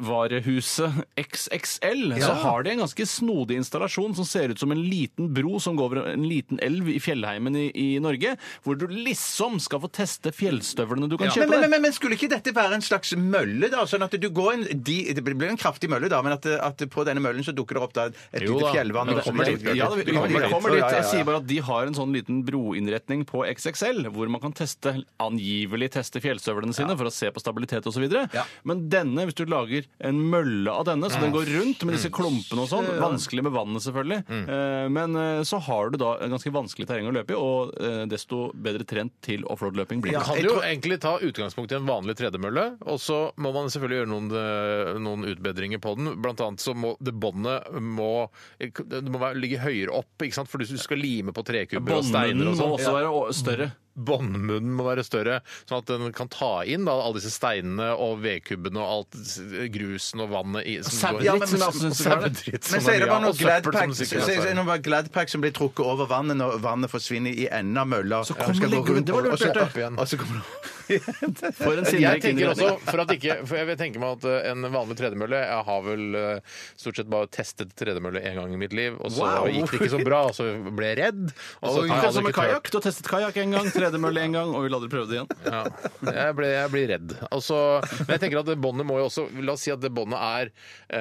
idrettsvarehuset XXL. Så har de en ganske snodig installasjon som ser ut som en liten bro som går over en liten elv i fjellheimen i, i Norge, hvor du liksom skal få teste fjellstøvlene du kan
Men,
kjøpe.
men,
deg.
men, men skulle ikke dette være en slags mølle, da? Sånn at du går en, de, Det blir en kraftig mølle, da, men at, at på denne møllen så dukker det opp da et
Jo
lite
da.
fjellvann.
Ja,
og
det
så
kommer
blir
dit, Bjarte.
Ja,
Vi
det, vi
kommer
kommer
dit.
dit.
Ja, ja, ja, ja.
Jeg sier bare at de har en sånn liten broinnretning på XXL, hvor man kan teste, angivelig teste fjellstøvlene sine for å se på stabilitet osv.
Ja.
Men denne, hvis du lager en mølle av denne, så den går rundt med disse klumpene og sånn, vanskelig med vannet selvfølgelig, Eh, men eh, så har du da en ganske vanskelig terreng å løpe i, og eh, desto bedre trent til offroad-løping blir
Man
du.
kan
jeg
jo
tror-
egentlig ta utgangspunkt i en vanlig tredemølle, og så må man selvfølgelig gjøre noen, eh, noen utbedringer på den. Blant annet så må det båndet må, det må være, ligge høyere opp, ikke sant? for du skal lime på trekubber og steiner
Båndmunnen
og
må
sånn.
også være å- større.
Båndmunnen må være større, sånn at den kan ta inn da, alle disse steinene og vedkubbene og alt s- grusen og vannet i som går-
Sauedritt,
Ja, men- altså,
som jeg også synes det var.
Sauedritt, som
Men så er det
mye
bare
av,
noe
og søppel som
Gladpack
sikkert
så-
er
så er det noe Gladpack som blir trukket over vannet når vannet forsvinner i enden av mølla. eh,
Så kommer det- det var lurt,
og så
Bjarte.
opp igjen. Og så kommer det
For en
Jeg
sinnrik
tenker også,
innredning.
for at ikke, for jeg tenker meg at eh, en vanlig tredemølle Jeg har vel eh, stort sett bare testet tredemølle én gang i mitt liv, og så
Wow.
gikk det ikke så bra, og så ble jeg redd. Og så
Og
har jeg
Akkurat
aldri
som med
turt.
kajakk. Du har testet kajakk en gang, tredemølle en gang, og vil aldri prøve det igjen.
Ja. Jeg, blir, jeg blir redd. Altså, men jeg tenker at det båndet må jo også La oss si at det båndet er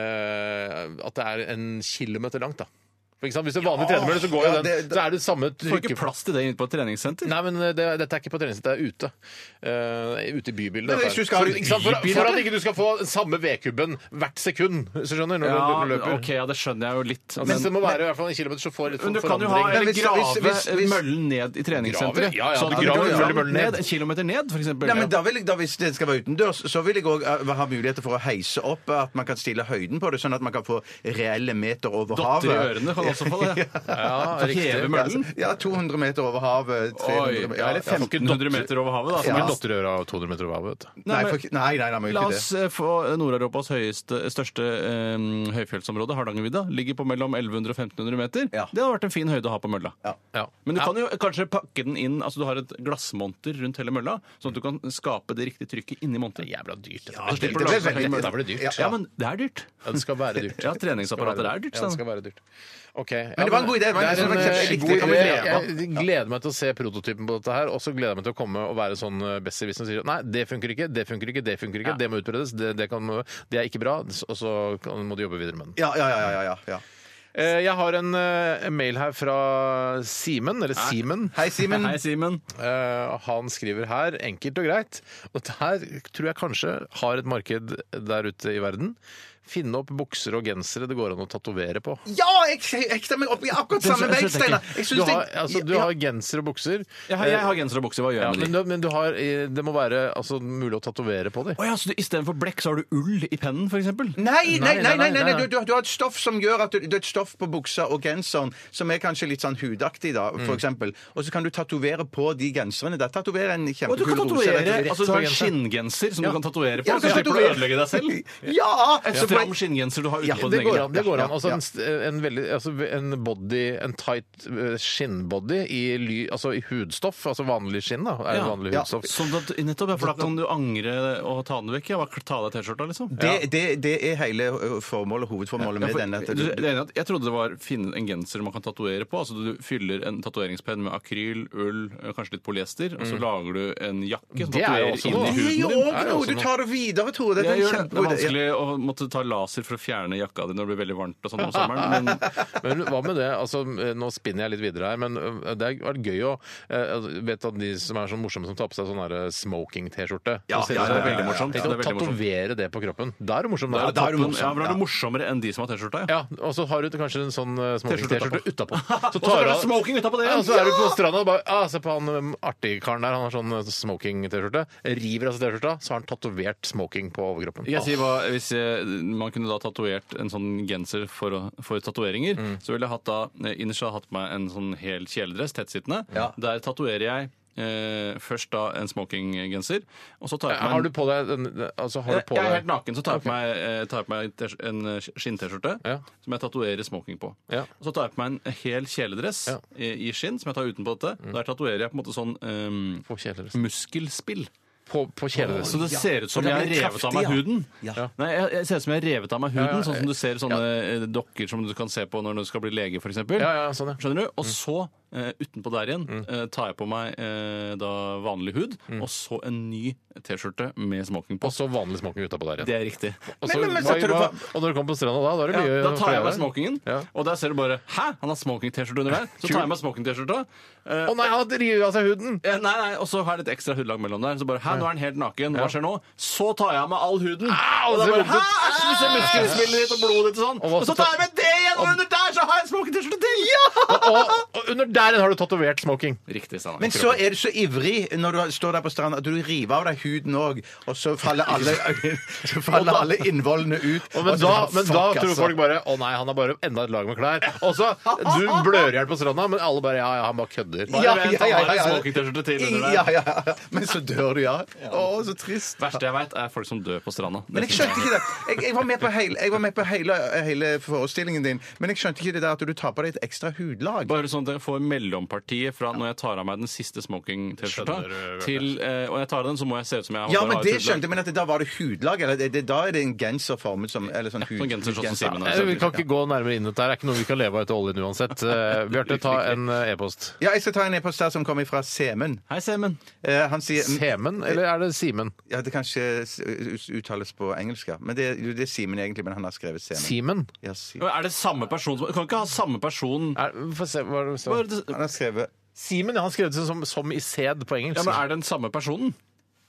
eh, At det er en kilometer langt, da. For ikke sant? Hvis det er vanlig tredemølle, så, går jo
Ja,
den,
det-
så er det samme
Du får ikke
trykke-
plass til det inne på et treningssenter.
Nei, men det, dette er ikke på treningssenteret, det er ute. Eh, ute i bybildet.
Men
dette
hvis
her.
du skal ha
Så, ikke sant, for,
bybildet?
for at ikke du skal få samme vedkubben hvert sekund, hvis du skjønner, når
Ja,
du løper.
ok, ja, det skjønner jeg jo litt.
Men, det må være i hvert fall en kilometer, så får litt
Men du
for-
kan jo ha
forandring.
eller
hvis-
grave
hvis- hvis- hvis-
møllen ned i
Grave?
treningssenteret.
Ja, ja,
sånn
du
at du
graver
graver
møllen
møllen ned
ned.
en kilometer ned, for eksempel.
Nei, men da vil, jeg- da, hvis det skal være utendørs, så vil jeg òg ha muligheter for å heise opp. eh, At man kan stille høyden på det, sånn at man kan få reelle meter over
Dotter i
havet.
ørene kan også få det.
Ja,
Så
riktig.
Heve møllen.
Ja, 200 meter over havet. 300
Oi,
meter ja, altså,
eller 1500 meter over havet, da.
Ja.
som
Min
er
datter gjør av 200 meter over havet. vet du.
Nei,
men-
for, nei, nei, nei, man
La
gjør ikke
oss eh, få Nord-Europas høyeste, største eh, høyfjellsområde, Hardangervidda, ligger på mellom 1100 og 1500 meter.
Ja.
Det hadde vært en fin høyde å ha på mølla.
Ja.
Men du kan jo kanskje pakke den inn, altså du har et glassmonter rundt hele mølla, sånn at du kan skape det riktige trykket inni monteret.
Jævla dyrt.
Ja, det blir veldig dyrt.
Da blir det dyrt.
Ja, men det er dyrt.
Ja, det skal være dyrt.
Ja, treningsapparater er dyrt.
Ja, det
Sånn.
skal være dyrt. Ok. Ja,
det var en god idé. Det var en-
det er
det var en
eh,
kjempe-
god
riktig.
idé.
Ja.
Jeg gleder meg til å se prototypen på dette her, og så gleder jeg meg til å komme og være sånn eh, besserwisser som sier nei, det funker ikke, det funker ikke, det funker ikke, det må utbredes, det, det, kan, det er ikke bra, og så kan, må du jobbe videre med den.
Ja, ja, ja, ja, ja, ja.
Eh, Jeg har en eh, mail her fra Simen, eller Simen.
Hei, Simen.
Hei, Simen.
Eh, han skriver her, enkelt og greit, og det her tror jeg kanskje har et marked der ute i verden. Finne opp bukser og gensere det går an å tatovere på.
Ja, jeg hekta meg opp i akkurat
Det
samme
skjønner
vei,
jeg ikke.
Steinar. Jeg
Du
synes
har,
det-
altså, du
ja,
har genser og bukser.
Jeg har, jeg har genser og bukse, hva gjør
ja,
jeg med
men
de?
du, men du har, eh, det må være altså, mulig å tatovere på dem.
Å ja, så du, istedenfor blekk så har du ull i pennen, for eksempel?
Nei, nei, nei, nei, nei,
nei, nei.
Du, du, du har et stoff som gjør at du, du har et stoff på buksa og genseren som er kanskje litt sånn hudaktig, da, for eksempel. Og så kan du tatovere på de genserne. Der tatoverer en
Og du
kjempekul
kan
rose.
tatovere
rett-
altså, du har en
rett-
skinngenser som du kan tatovere på,
Ja,
så
kanskje
slipper du å
tatovere-
ødelegge deg selv.
Ja!
En
så
stram
poeng-
skinngenser du har
Ja,
utenpå
det
din
går
egen
Ja,
kropp.
det går an.
ja,
Altså,
ja.
en, st- en, veldig, altså, en body, en tight eh, skinnbody i, ly, altså, i hudstoff, altså vanlig skinn, da. Er
Ja.
vanlig
Ja.
hudstoff.
Sånn at, nettopp, ja, for da kan du angre og ta den vekk. Ja, bare ta av deg T-skjorta, liksom.
Det, det, det er hele ø, formålet, hovedformålet
Ja,
med
for,
denne. at
du,
du-
det er enig at jeg trodde det var finne en genser man kan tatovere på. altså Du fyller en tatoveringspenn med akryl, ull, eh, kanskje litt polyester, og så lager du en jakke som
Det er jo
tatoverer
også
inn
noe.
i
Det er jo
huden din.
er jo
òg noe!
også
Du
noe.
tar det videre, Tore. Det
Jeg
er en
gjør det. det er
kjempegod idé.
vanskelig å måtte ta laser for å fjerne jakka di når det blir veldig varmt og sånn om sommeren. Men
Men hva med det? Altså, eh, nå spinner jeg litt videre her, men eh, det har vært gøy å eh, altså, Vet at de som er så morsomme som tar på seg sånn derre smoking-T-skjorte
Ja,
Så ser
ja,
det sånn-
ja, ja, ja, ja.
Tenk
Tenk deg
å
å tatovere-
tatovere det på kroppen. Da er du morsom. Da er du
Ja,
topp.
men da er du morsommere enn de som har T-skjorta.
Ja, og så har du kanskje en sånn eh, smoking-T-skjorte utapå.
Og så er det smoking utapå det
Ja,
igjen!
og så er du på stranda og bare ah, Se på han um, artige karen der, han har sånn eh, smoking-T-skjorte. River av seg T-skjorta, så har han tatovert smoking på overkroppen.
Jeg sier hva, hvis jeg, man kunne da tatovert en sånn genser for, å- for tatoveringer,
Mm.
så ville jeg hatt da, eh, innerst hadde jeg hatt meg en sånn hel kjeledress, tettsittende. Der tatoverer jeg eh, først da en smokinggenser, og så tar jeg på meg en-
Ah. Har du på deg den altså, har
jeg,
du på
jeg er helt
deg
naken, så tar jeg på meg, eh, tar jeg på meg en t- en eh, skinn-T-skjorte
Ja.
som jeg tatoverer smoking på.
Ja.
Og så tar jeg på meg en hel kjeledress
Ja. Mm.
i, i skinn som jeg tar utenpå dette. Der tatoverer jeg på en måte sånn ehm,
på kjeledressen?
muskelspill.
På, på kjeledressen.
Eh, Så det ser ut som
det
jeg har
blir
revet
kraftig,
av meg
ja.
huden.
Ja.
Nei, jeg, jeg ser ut som jeg har revet av meg huden,
Ja, ja,
sånn som du ser sånne eh, dokker som du kan se på når du skal bli lege, f.eks.
Ja, Mm. ja, sånn, ja.
Skjønner du? Og så, eh, utenpå der igjen, eh, tar jeg på meg eh, da vanlig hud, og så en ny T-skjorte med smoking
Mm.
på.
Og så vanlig smoking utapå der igjen.
Det er riktig.
Og, så,
Men- men- men
hva-
setter du
hva-
på-
og når du kommer på stranda da, da er det
Ja,
mye
da
å
tar jeg av meg
gjøre.
smokingen,
Ja.
og der ser du bare Hæ, han har smoking-T-skjorte under der? Så tar jeg av meg smoking-T-skjorta. eh,
Å nei, han har revet av seg huden!
eh, Nei, nei, Og så har jeg litt ekstra hudlag mellom der. Så bare, hæ, nå er den helt naken, hva skjer nå? Så tar jeg av meg all huden. og da
det er
bare,
vondt
hæ,
ut.
æsj, vi ser muskelspillet ditt og blodet ditt og sånn.
Og hva
Og
så
så
tar-
tar jeg med det igjen, og under der så har jeg en smoking-T-skjorte til! Ja!
Og, og under der har du tatovert smoking.
Riktig, Steinar.
Men så er du så ivrig når du står der på stranda at du river av deg huden òg, og så faller alle, så faller alle innvollene ut.
Og men
og så
da,
bare,
men da
fuck,
tror
altså.
folk bare 'Å nei, han har bare enda et lag med klær'. Og så Du blør i hjel på stranda, men alle bare 'Ja, ja, han bare kødder'.
Bare
Ja,
vent,
ja, ja,
han har en
ja, ja.
smoking-T-skjorte til under
ja,
der.
ja, ja. Men så dør du, ja. Å, så trist.
Verste jeg veit, er folk som dør på stranda.
Men jeg skjønte ikke det. Jeg, jeg var med på hele, jeg var med på hele, hele forestillingen din, men jeg skjønte ikke det der at du tar på deg et ekstra hudlag?
Bare sånn at dere får mellompartiet fra når jeg tar av meg den siste smoking-T-skjorta,
Skjønner du,
til eh, Og jeg tar av den, så må jeg se ut som jeg
Ja, men
bare har
det
et hudlag.
skjønte jeg, men at det, da var det hudlag? Eller det, det, da er det en genser formet som Eller sånn hud...
sånn genser sånn som Simen har.
Eh, Vi kan ikke gå nærmere inn i dette. her. Det er ikke noe vi kan leve av etter oljen uansett. Eh, Bjarte, ta en eh, e-post.
Ja, jeg skal ta en e-post her som kommer fra Semen.
Hei, Semen.
Eh, han sier
Semen, eller er det Simen?
Ja, det kanskje s- ut- uttales på engelsk, ja. Men det, jo, det er Simen egentlig, men han har skrevet Semen.
Simen?
Ja, Simen.
Er det samme person som Kan ikke ha samme person
Er, få se, hva er det det står?
Bare det-
Han har skrevet
Simen, ja, han skrev det som, som i sæd på engelsk.
ja, men Er det den samme personen?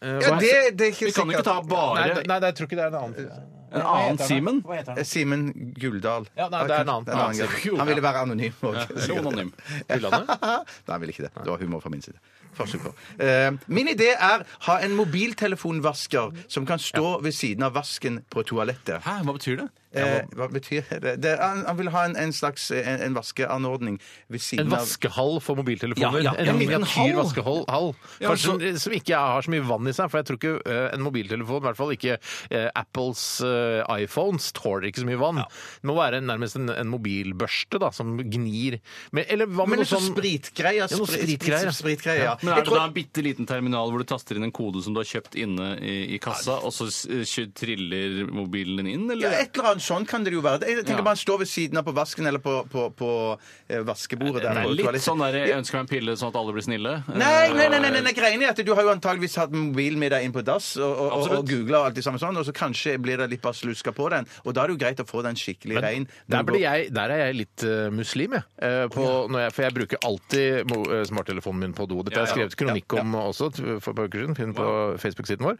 Ja, det, det er ikke
Eh, Vi kan jo ikke ta
Nei,
bare
det- nei, det- jeg tror ikke det er en annen.
en annen Simen.
Eh, Simen Guldal.
Ja, nei, det er en annen.
Det er en annen
Simen.
gutt. Han ville være anonym. også.
Eller anonym.
Nei, han ville ikke det. Det var humor fra min side. Forsøk på. Eh, min idé er ha en mobiltelefonvasker som kan stå ved siden av vasken på toalettet.
Hæ, hva betyr det?
Eh, hva betyr det? det han, han vil ha en, en slags eh, en, en vaskeanordning ved
En
siden av
vaskehall for mobiltelefoner.
Ja, ja, ja,
En
men
miniatyr
en hall.
vaskehall. Hall.
Ja,
Kanskje
så-
en- som ikke har så mye vann i seg, for jeg tror ikke eh, en mobiltelefon, i hvert fall ikke eh, Apples eh, iPhones, tåler ikke så mye vann. Det må være en, nærmest en, en mobilbørste da, som gnir. Men, eller hva
Men
med
noe
noe sånn
spritgreier.
Ja, noe
sprit-
spritgreier, ja.
spritgreier, ja.
Men er
Jeg
det
tror-
da en bitte liten terminal hvor du taster inn en kode som du har kjøpt inne i, i kassa, og så s- kjø- triller mobilen din inn,
Ja,
eller?
et eller annet sånn kan det jo være. Jeg tenker
Ja.
bare stå ved siden av på vasken eller på, på, på eh,
Det
vaskebordet. der
er
på
litt
toalettet.
sånn der jeg ønsker meg en pille sånn at alle blir snille.
Nei, nei, nei, nei,
Eh.
nei, nei, greien er at du har jo antageligvis hatt mobilen med deg inn på dass og, og, og,
Absolutt.
og googla og alt det samme sånn, og så kanskje blir det litt bare sluska på den, og da er det jo greit å få den skikkelig rein.
Der, blir jeg, der er jeg litt eh, muslim, jeg. Eh, på, når jeg. For jeg bruker alltid mo eh, smarttelefonen min på do. Dette har jeg skrevet kronikk om også t- for et par uker siden. Finn på Facebook-siden vår.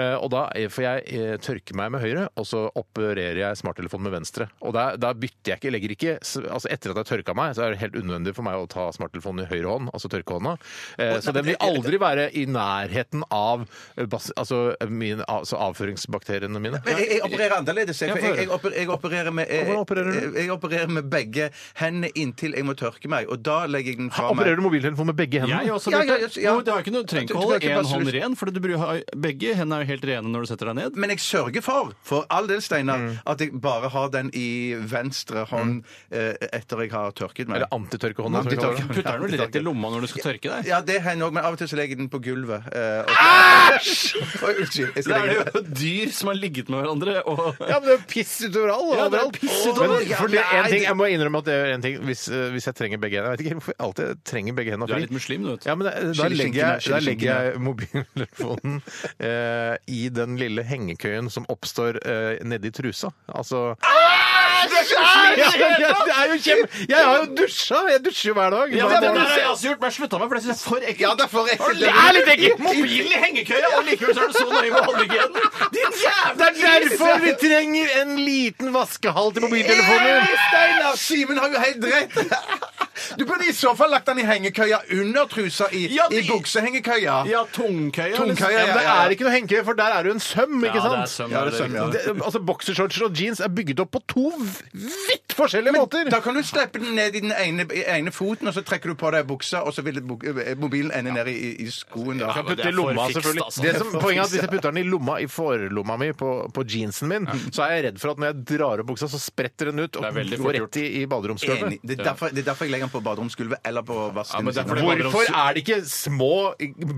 Eh, og da, eh, For jeg eh, tørker meg med høyre, og så opererer jeg smarttelefonen med venstre. Og da, da bytter jeg ikke. jeg legger ikke, s- altså Etter at jeg tørka meg, så er det helt unødvendig for meg å ta smarttelefonen i høyre hånd, altså tørkehånda. Eh, så den vil aldri være i nærheten av, eh, bas altså, min, altså avføringsbakteriene mine.
Men jeg, jeg opererer annerledes. Jeg,
Ja,
for
få
jeg,
høre.
jeg, oper, jeg opererer med eh,
Hvordan opererer du?
eh, Jeg opererer med begge hendene inntil jeg må tørke meg, og da legger jeg den fra meg.
Opererer du mobiltelefonen med begge hendene?
Eh, Jeg også,
Ja,
ja,
ja, ja, ja.
det har ikke noe, du trenger ikke
Du-
å
du
holde
kan ikke
én
bare
hånd
sluse-
ren, for du bru- har- begge hendene er jo helt rene når du setter deg ned.
Men jeg sørger for, for all del, Steinar,
Mm.
at jeg bare har den i venstre hånd
Mm.
eh, etter jeg har tørket meg.
Eller antitørkehånda. som vi kaller det.
Antitørke-
Putter den vel rett i lomma når du skal tørke deg?
Ja, det hender òg, men av og til så legger jeg den på gulvet. eh, og- Oi, Unnskyld. Jeg skal
Da
legge
er det jo dyr som har ligget med hverandre og
Ja, men det er jo piss utover all.
Ja, det er
overalt.
piss utover.
Men fordi
Ja, nei,
en ting,
det-
jeg må innrømme at det er en ting hvis, eh, hvis jeg trenger begge hendene Jeg vet ikke hvorfor jeg alltid trenger begge hendene.
Du er
fordi-
litt muslim, du vet.
Ja, men det, da,
Skille
legger jeg,
skinkene,
da
skille
legger jeg mobiltelefonen eh, i den lille hengekøyen som oppstår eh, nedi trusa. Altså
Ah,
ja, det er jo kjempe... Jeg har jo dusja! Jeg dusjer jo hver dag.
Ja,
Bare-
men det der har jeg også gjort, men jeg slutta meg, for det syns jeg er for ekkelt.
Ja, det er for ekkelt.
Det er litt ekkelt! Mobilen i hengekøya, og likevel så er du så nøye med håndhygienen! Din jævla
Det er derfor vi trenger en liten vaskehall til mobiltelefoner!
Ja, Steinar! Simen har jo helt rett! Du burde i så fall lagt den i hengekøya under trusa i,
Ja, det-
i buksehengekøya.
Ja, tungkøya. liksom.
Tungkøya,
Ja, men det
ja, ja.
er ikke noe hengekøye, for der er det jo en søm,
Ja,
ikke
det er
sant?
søm,
Ja, det er søm, ja.
Det, altså Boksershortser og jeans er bygd opp på to vidt forskjellige måter.
Da kan du slippe den ned i den ene, i ene foten, og så trekker du på deg buksa, og så vil buk- eh, mobilen ende ned i, i skoen. Da.
men det
Putte i
er
lomma,
for fikst,
selvfølgelig.
altså.
Det som, poenget er at Hvis jeg putter den i lomma, i forlomma mi på, på jeansen min, så er jeg redd for at når jeg drar opp buksa, så spretter den ut
Det
og
er veldig
går
fort
rett i, i
Enig.
baderomsgulvet.
Det er, derfor, det er derfor jeg legger den på baderomsgulvet eller på vasken.
men det er fordi-
Hvorfor er det ikke små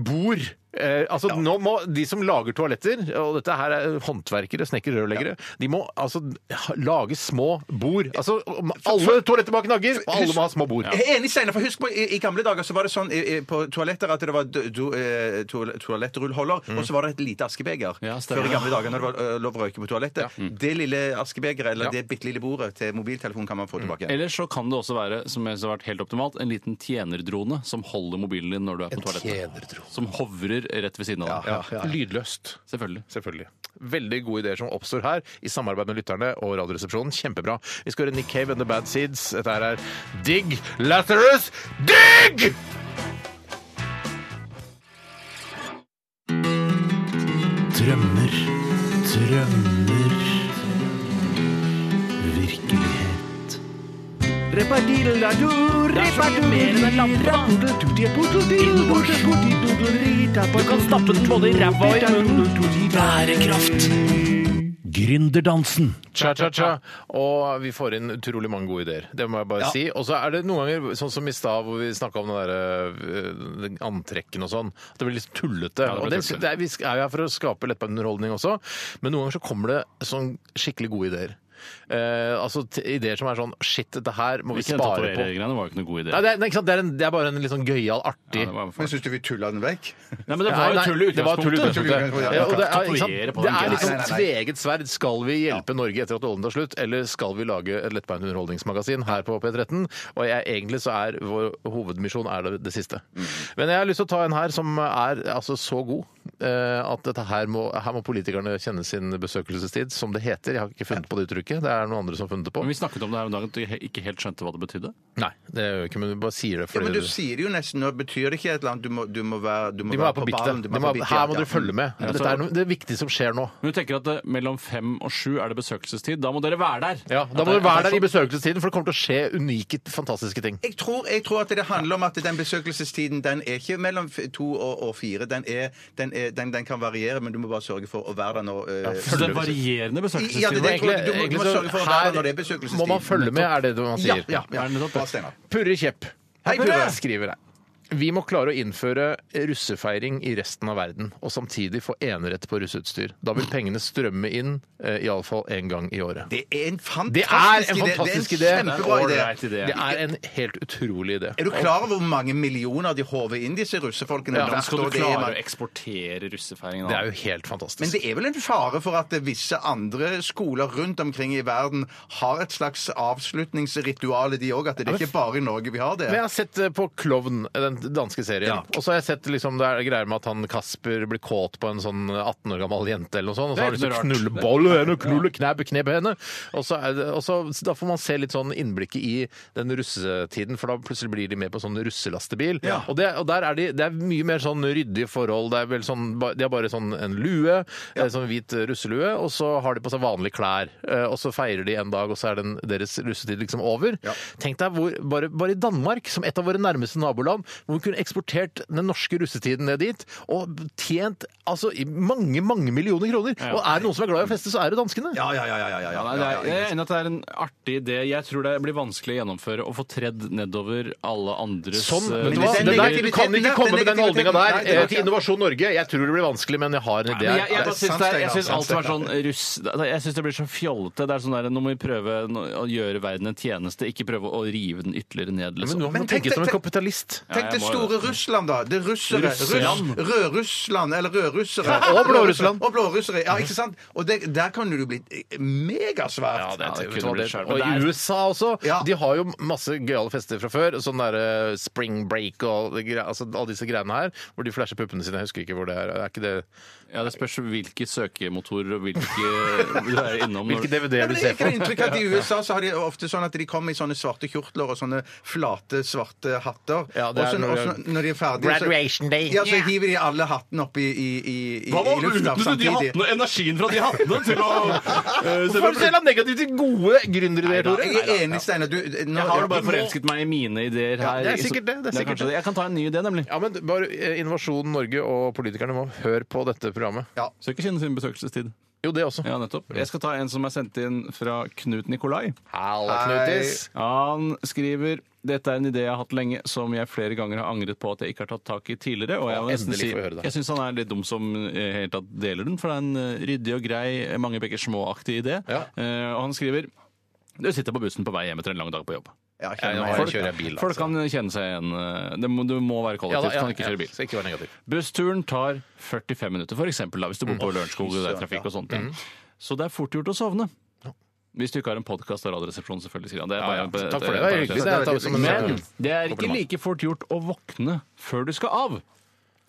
bord? Eh, altså nå må De som lager toaletter, og dette her er håndverkere, snekkere, rørleggere, de må altså ha- lage små bord. Altså om Alle toaletter bak knagger, og alle må ha små bord.
Jeg er enig, Steinar. for Husk på, i, i gamle dager så var det sånn i, i, på toaletter at det var do, do, eh, toal- toalettrullholder,
Mm.
og så var det et lite askebeger.
Ja, stemmer.
Før i gamle dager når det var eh, lov å røyke på toalettet.
Mm.
Det lille askebegeret eller det bitte lille bordet til mobiltelefonen kan man
Mm.
få tilbake. igjen.
Eller så kan det også være, som jeg synes har vært helt optimalt, en liten tjenerdrone som holder mobilen din når du er på toalettet. Som hovrer rett ved siden av deg.
Lydløst.
Selvfølgelig.
Selvfølgelig. Veldig gode ideer som oppstår her, i samarbeid med lytterne og Radioresepsjonen. Kjempebra. Vi skal høre Nick Cave and The Bad Seeds. Dette her er Dig Lazarus Dig!
Drømmer, drømmer Virkelighet
Du kan stappe den både i ræva og i munnen.
Bærekraft gründerdansen.
Cha-cha-cha. Og vi får inn utrolig mange gode ideer. Det må jeg bare si. Og så er det noen ganger, sånn som i stad, hvor vi snakka om den der, øh, den antrekken og sånn, at det blir litt tullete.
det blir
og det,
tullete.
det er, vi sk- er jo her for å skape lettbeint underholdning også, men noen ganger så kommer det sånn skikkelig gode ideer. Eh, altså t ideer som er sånn Shit, dette her må vi
Ikke den
spare på. Nei,
tatovergreiene var jo ikke noe god idé.
det er, nei, ikke sant? Det, er en, det er bare en litt sånn gøyal, artig
Ja, det var
Men syns du vi tulla den vekk?
Nei, men det var jo tull i
Nei, nei, det var tull i
utgangspunktet.
utgangspunktet. Ja, og det er, ikke sant,
Tatovere på
det
den
er
greia.
liksom
Nei, nei, nei.
tveget sverd. Skal vi hjelpe Norge etter at oljen tar slutt, eller skal vi lage et lettbeint underholdningsmagasin her på P13? Og jeg, egentlig så er vår hovedmisjon er det, det siste.
Mm.
Men jeg har lyst til å ta en her som er altså så god eh, at dette her må, her må politikerne kjenne sin besøkelsestid, som det heter. Jeg har ikke funnet på det uttrykket. Det er noen andre som har funnet det på.
Men vi snakket om det her om dagen at vi he- ikke helt skjønte hva det betydde.
Nei, det gjør vi ikke, men vi bare sier det
Ja,
fordi
men du sier det jo nesten nå. Betyr det ikke et eller annet? Du må, du må være du må
de må være på
ballen,
bittet.
du
De må,
være på bittet,
her må
ja.
dere følge med.
Ja, så-
Dette er noe, det er viktig som skjer nå.
Men du tenker at eh, mellom fem og sju er det besøkelsestid. Da må dere være der!
Ja, Da må du være der i besøkelsestiden, for det kommer til å skje unike, fantastiske ting.
Jeg tror, jeg tror at det handler om at den besøkelsestiden den er ikke mellom f- to og, og fire. Den, er, den, er, den, den kan variere, men du må bare sørge for å være der når eh,
Så det er varierende besøkelsestid.
Ja, det er det jeg tror.
Egentlig- egentlig
Du må- du må
så-
sørge for å være der når det er besøkelsestid.
Må man følge med, er det det man
Ja,
sier.
ja, ja.
Er det nettopp det?
Bra, Steinar.
Purre Kjepp
Hei, Purre!
skriver her. Vi må klare å innføre russefeiring i resten av verden, og samtidig få enerett på russeutstyr. Da vil pengene strømme inn, eh, iallfall én gang i året.
Det er en
Det er en
fantastisk idé.
fantastisk idé!
Det er en kjempebra idé.
Ålreit idé.
Det er en helt utrolig idé.
Er du klar over hvor mange millioner de håver inn, disse russefolkene?
Altså,
Hvordan
hvert
skal
år?
du
Det er
klare
man-
å eksportere russefeiringen?
Det
da?
er jo helt
Men
fantastisk.
det er vel en fare for at visse andre skoler rundt omkring i verden har et slags avslutningsritual, de òg. At det er ikke bare i Norge vi har det.
Men jeg har sett eh, på Klovn, den danske serien.
Ja.
Og så har jeg sett liksom, det er greier med at han Kasper blir kåt på en sånn 18 år gammel jente eller noe sånt. Og så har han
Det er
lyst til
ikke
å
noe
knulle bolle henne og knulle knæbe knebbe henne. Og så, er det, og så så da får man se litt sånn innblikket i den russetiden, for da plutselig blir de med på sånn russelastebil. Og, det, og der er de, det er mye mer sånn ryddige forhold. Det er vel sånn, ba- de har bare sånn en lue, eh, sånn hvit eh, russelue, og så har de på seg vanlige klær. Eh, Og så feirer de en dag, og så er den, deres russetid liksom over. Tenk deg hvor, bare, bare i Danmark, som et av våre nærmeste naboland, hvor vi kunne eksportert den norske russetiden ned dit og tjent altså, i mange, mange millioner kroner. Og er det noen som er glad i å feste, så er det danskene.
Ja, ja, ja. ja, ja, ja,
Ja, nei, det er, jeg er enig at det er en artig idé. Jeg tror det blir vanskelig å gjennomføre og få tredd nedover alle andres
Sånn,
eh,
vet Du
men
hva?
den
Det der, du kan
negativiteten
ikke
der,
komme
den
med den holdninga
negativiteten-
der
Nei,
eh,
det var
til
ikke-
Innovasjon Norge. Jeg tror det blir vanskelig, men jeg har en idé.
Men jeg, jeg,
det er
bare syns
sant,
det er- jeg
Steinar,
syns
sant,
alt var sånn russ det- Jeg syns det blir så fjollete. Det er sånn der, Nå må vi prøve å gjøre verden en tjeneste, ikke prøve å rive den ytterligere ned.
Men
Liksom.
nå må
Men
man
tenk-
tenke som en
tenk-
kapitalist.
Tenk det
jeg må
store Russland, da. Det russere.
Russland.
Russ, Rød-Russland, eller rødrussere.
Og blårussland.
Og blårussere, ja, ikke sant? Og det, der kan det jo bli megasvært.
Ja, det,
Ja, det
vet
kunne
du hva,
blitt
det,
skjær, men
og
det er-
i USA også.
Ja.
De har jo masse gøyale fester fra før. Sånn derre spring break og det gre- altså, alle disse greiene her. Hvor de flasher puppene sine. Jeg husker ikke hvor det er. er ikke det,
Ja, Det spørs hvilke søkemotorer og hvilke du er innom. når-
hvilke DVD-er
Men
du
det er
ser
ikke
på.
det inntrykk at I USA så har de ofte sånn at de kommer i sånne svarte kjortler og sånne flate, svarte hatter.
Ja, det er
og så,
når
og
de-
så når de er ferdige
Graduation day.
Ja, så hiver de alle hattene opp i, i, i, i, i lufta samtidig.
energien fra de hattene til å
Hvorfor er du selv negativt til gode gründerideer, Tore?
Jeg er enig, Steinar. Du, nå-
Jeg har jo
ja,
bare
du må-
forelsket meg i mine ideer her.
det er
så-
sikkert det, det er sikkert
kanskje
det.
Jeg kan ta en ny idé, nemlig.
Ja, men bare eh, Innovasjon Norge og politikerne må høre på dette programmet.
Så ikke kjenne sin besøkelsestid.
Jo, det også.
Ja, nettopp. Jeg skal ta en som er sendt inn fra Knut Nikolai.
Halla,
Hei.
Knutis.
Han skriver dette er en idé jeg har hatt lenge, som jeg flere ganger har angret på at jeg ikke har tatt tak i tidligere. Og jeg, må nesten
endelig
si,
får jeg høre det.
jeg syns han er litt dum som eh, helt tatt deler den, for det er en eh, ryddig og grei, eh, mange peker små-aktig idé.
Ja.
Eh, og han skriver du sitter på bussen på vei hjem etter en lang dag på jobb. Eh,
Ja, jeg
Ja,
kjenner
nå
meg.
har- kjører jeg bil, altså.
Folk kan kjenne seg igjen. eh, Det må, du må være kollektivt, kan ikke kjøre bil.
Så ikke vær negativ.
Bussturen tar 45 minutter, for eksempel, da, hvis
Mm.
du bor på Lørenskog og det er trafikk og sånne ting. Så det er fort gjort å sovne. Hvis du ikke har en podkast av Radioresepsjonen, selvfølgelig. Sier han. Det er bare,
ja. Takk for det. Det er hyggelig. Det Mm.
parentes.
er- jeg tar det som en-
Men det er ikke
Kompliment.
like fort gjort å våkne før du skal av.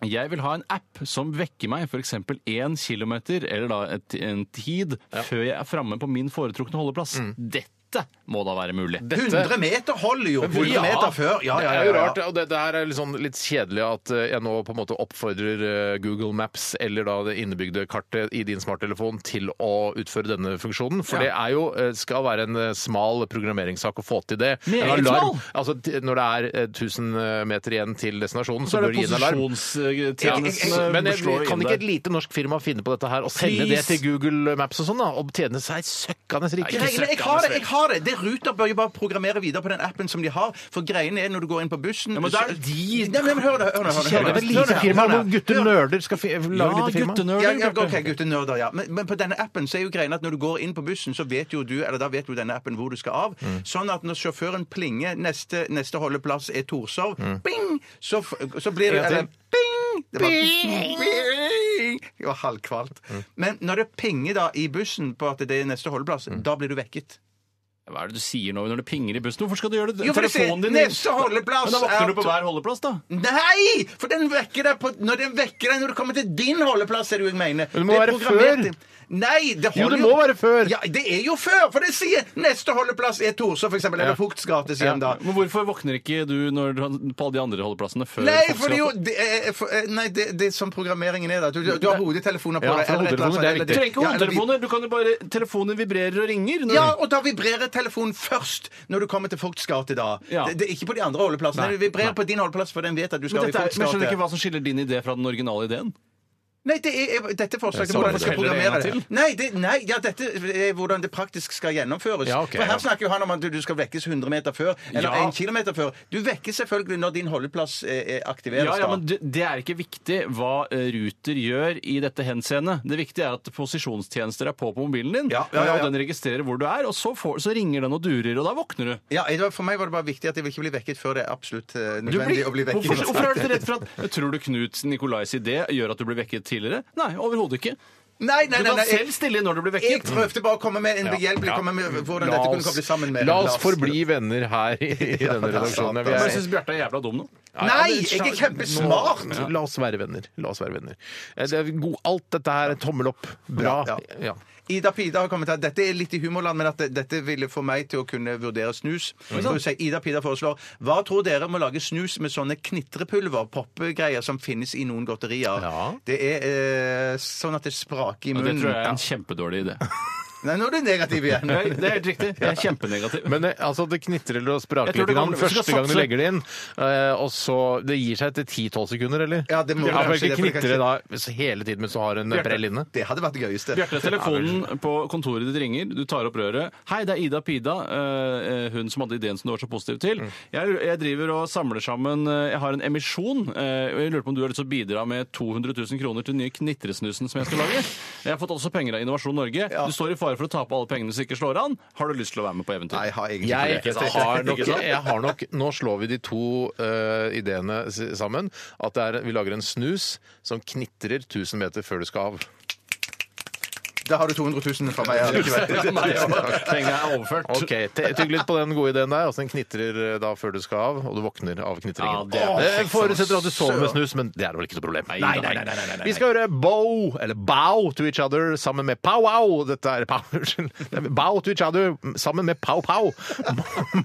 Jeg vil ha en app som vekker meg f.eks.
Mm.
1 km, eller da et, en tid, før jeg er framme på min foretrukne holdeplass. Dette Dette må da være mulig.
100 meter holder jo! 100
Ja.
meter før. Ja, ja, ja,
Det er jo
ja,
rart,
ja.
og det, det her er litt, sånn, litt kjedelig at eh, jeg nå på en måte oppfordrer eh, Google Maps eller da det innebygde kartet i din smarttelefon til å utføre denne funksjonen, for det er jo, eh, skal være en eh, smal programmeringssak å få til det. En
Meget
alarm. Altså, t- når det er eh, 1000 meter igjen til destinasjonen, så, bør det gi en alarm.
eh,
posisjonstjenesten
Men jeg, kan ikke et lite norsk firma finne på dette her og selge det
Please.
til Google Maps og sånn, da, og tjene seg søkkende rike?
Greiene, jeg har det! jeg har det Det Ruter bør jo bare programmere videre på den appen som de har. For greiene er når du går inn på bussen
Ja, men da er det
de Nei, men Hør, da, hør, da, hør, da, hør,
Kjedelig med
da.
lite firma
Hør,
hvor
da.
gutter nerder skal fi- lage
Ja,
lite firma.
Ja,
guttenøler.
ja, ok, guttenørder, ja. Men, men på denne appen så er jo greien at når du går inn på bussen, så vet jo du eller da vet jo denne appen hvor du skal av.
Mm.
Sånn at når sjåføren plinger neste, neste holdeplass er Torshov, bing, så, f- så blir det
Mm. En gang til.
eller, Bing! Det var, bing! Det var halvkvalt.
Mm.
Men når det pinger da i bussen på at det er neste holdeplass,
Mm.
da blir du vekket.
Hva er det du sier nå når det pinger i bussen? Hvorfor skal du gjøre det?
Jo, for det sier,
Telefonen din
neste holdeplass
Men Da våkner
er-
du på hver holdeplass, da.
Nei! For den vekker deg på, når den vekker deg når du kommer til din holdeplass, er det jo jeg mener.
Men det må
er
være
programmert
før.
i- Nei, det
Jo,
holder
det må være før.
Ja, det er jo før! For det sier neste holdeplass er Torshov, for eksempel. Eller Fugts gate, sier han da.
Men hvorfor våkner ikke du når, du- på alle de andre holdeplassene før
Nei,
folk
for det
skal
er jo
på-
det er, for, eh, Nei, det, det er som programmeringen er, da. Du, du har hodetelefoner på
Ja,
deg.
for
eller et
hodetelefoner, det
eller annet
er
sånt, eller
Du
viktig.
trenger ikke
ja, eller vi-
hodetelefoner. Du kan jo bare Telefonen vibrerer og ringer. når-
Ja, og da vibrerer telefonen først når du kommer til Fugts gate, da.
Ja.
Det, det er ikke på de andre holdeplassene. Den vibrerer på din holdeplass, for den vet at
Men
du skal i
dette er-
Fugts
men jeg skjønner ikke
gate.
hva som skiller din idé fra den originale ideen.
Nei, det er, er dette er forslaget til
Jeg
hvordan vi skal
forteller det
programmere
en gang
det. Nei, det, nei ja, dette er hvordan det praktisk skal gjennomføres.
Ja, ok, ja.
For her snakker jo han om at du skal vekkes 100 meter før, eller
Ja.
1 km før. Du vekkes selvfølgelig når din holdeplass eh, eh, aktiveres.
Ja, ja,
da.
men det, det er ikke viktig hva eh, Ruter gjør i dette henseende. Det viktige er at posisjonstjenester er på på mobilen din,
Ja, ja, ja, ja.
og den registrerer hvor du er, og så, får, så ringer den og durer, og da våkner du.
Ja, det var- for meg var det bare viktig at jeg vil ikke bli vekket før det er absolutt eh,
du
nødvendig å bli vekket.
hvorfor, hvorfor er du så redd for at Tror du Knut Nikolais idé gjør at du blir vekket tidligere? Nei, overhodet ikke.
Nei, nei,
Du
nei,
kan
nei.
selv stille når du blir
Jeg
vekket.
prøvde bare å komme med en behjelpelig
Ja.
komme med hvordan
La
dette kunne
oss-
koble sammen med
La oss
Lars.
forbli venner her i, i denne
det er sant,
redaksjonen.
altså.
Men jeg syns Bjarte er jævla dum nå.
Nei, jeg er kjempesmart!
Nå- La oss være venner. La oss være venner. Eh, Det er god, alt dette her er tommel opp. Bra.
Ja,
Ja.
Ida Pida har kommet her. Dette er litt i humorland, men at det- dette ville få meg til å kunne vurdere snus. Så hun sier- Ida Pida foreslår Hva tror dere om å lage snus med sånne knitrepulver, poppegreier, som finnes i noen godterier?
Ja.
Det er eh, sånn at det spraker i
Og det
munnen.
tror jeg er en kjempedårlig idé.
Nei, nå er du negativ igjen.
Nei, det er helt riktig. Jeg er kjempenegativ.
Men eh, altså, det knitrer og spraker
Jeg tror
litt
det
grann
kommer-
første
skal
gang du
satse.
legger det inn, eh, og så Det gir seg etter 10-12 sekunder, eller?
Ja, det må
ja, for
kanskje
ikke
det, for det kan
knitre da så hele tiden mens du har en eh, brell inne.
Det hadde vært det gøyeste.
Bjarte, telefonen på kontoret ditt ringer, du tar opp røret. 'Hei, det er Ida Pida, eh, hun som hadde ideen som du var så positiv til.'
Mm.
Jeg, 'Jeg driver og samler sammen eh, Jeg har en emisjon, eh, og jeg lurer på om du har lyst til å bidra med 200 000 kroner til den nye Knitresnusen som jeg skal lage?' 'Jeg har fått også penger av Innovasjon Norge. Du står i fare for å tape alle pengene hvis du ikke slår an. Har du lyst til å være med på eventyr?'
Nei, jeg har egentlig
Jeg
ikke det.
har, nok, jeg har nok Nå slår vi de to eh, ideene s- sammen. At det er, vi lager en snus som knitrer 1000 meter før du skal av.
Da har du 200 000 fra meg. Jeg har ikke vært.
Pengene er overført.
Ok, te- Tygg litt på den gode ideen der. Altså, den knitrer eh, da før du skal av, og du våkner av
Ja,
knitringen.
det er-
det forutsetter at du sover med snus, men det er vel ikke noe problem. Nei, nei, nei, Vi skal høre Bow, eller Bow to each other, sammen med Pow Wow. Dette er Pow, unnskyld. Det er Bow to each other sammen med Pow Pow.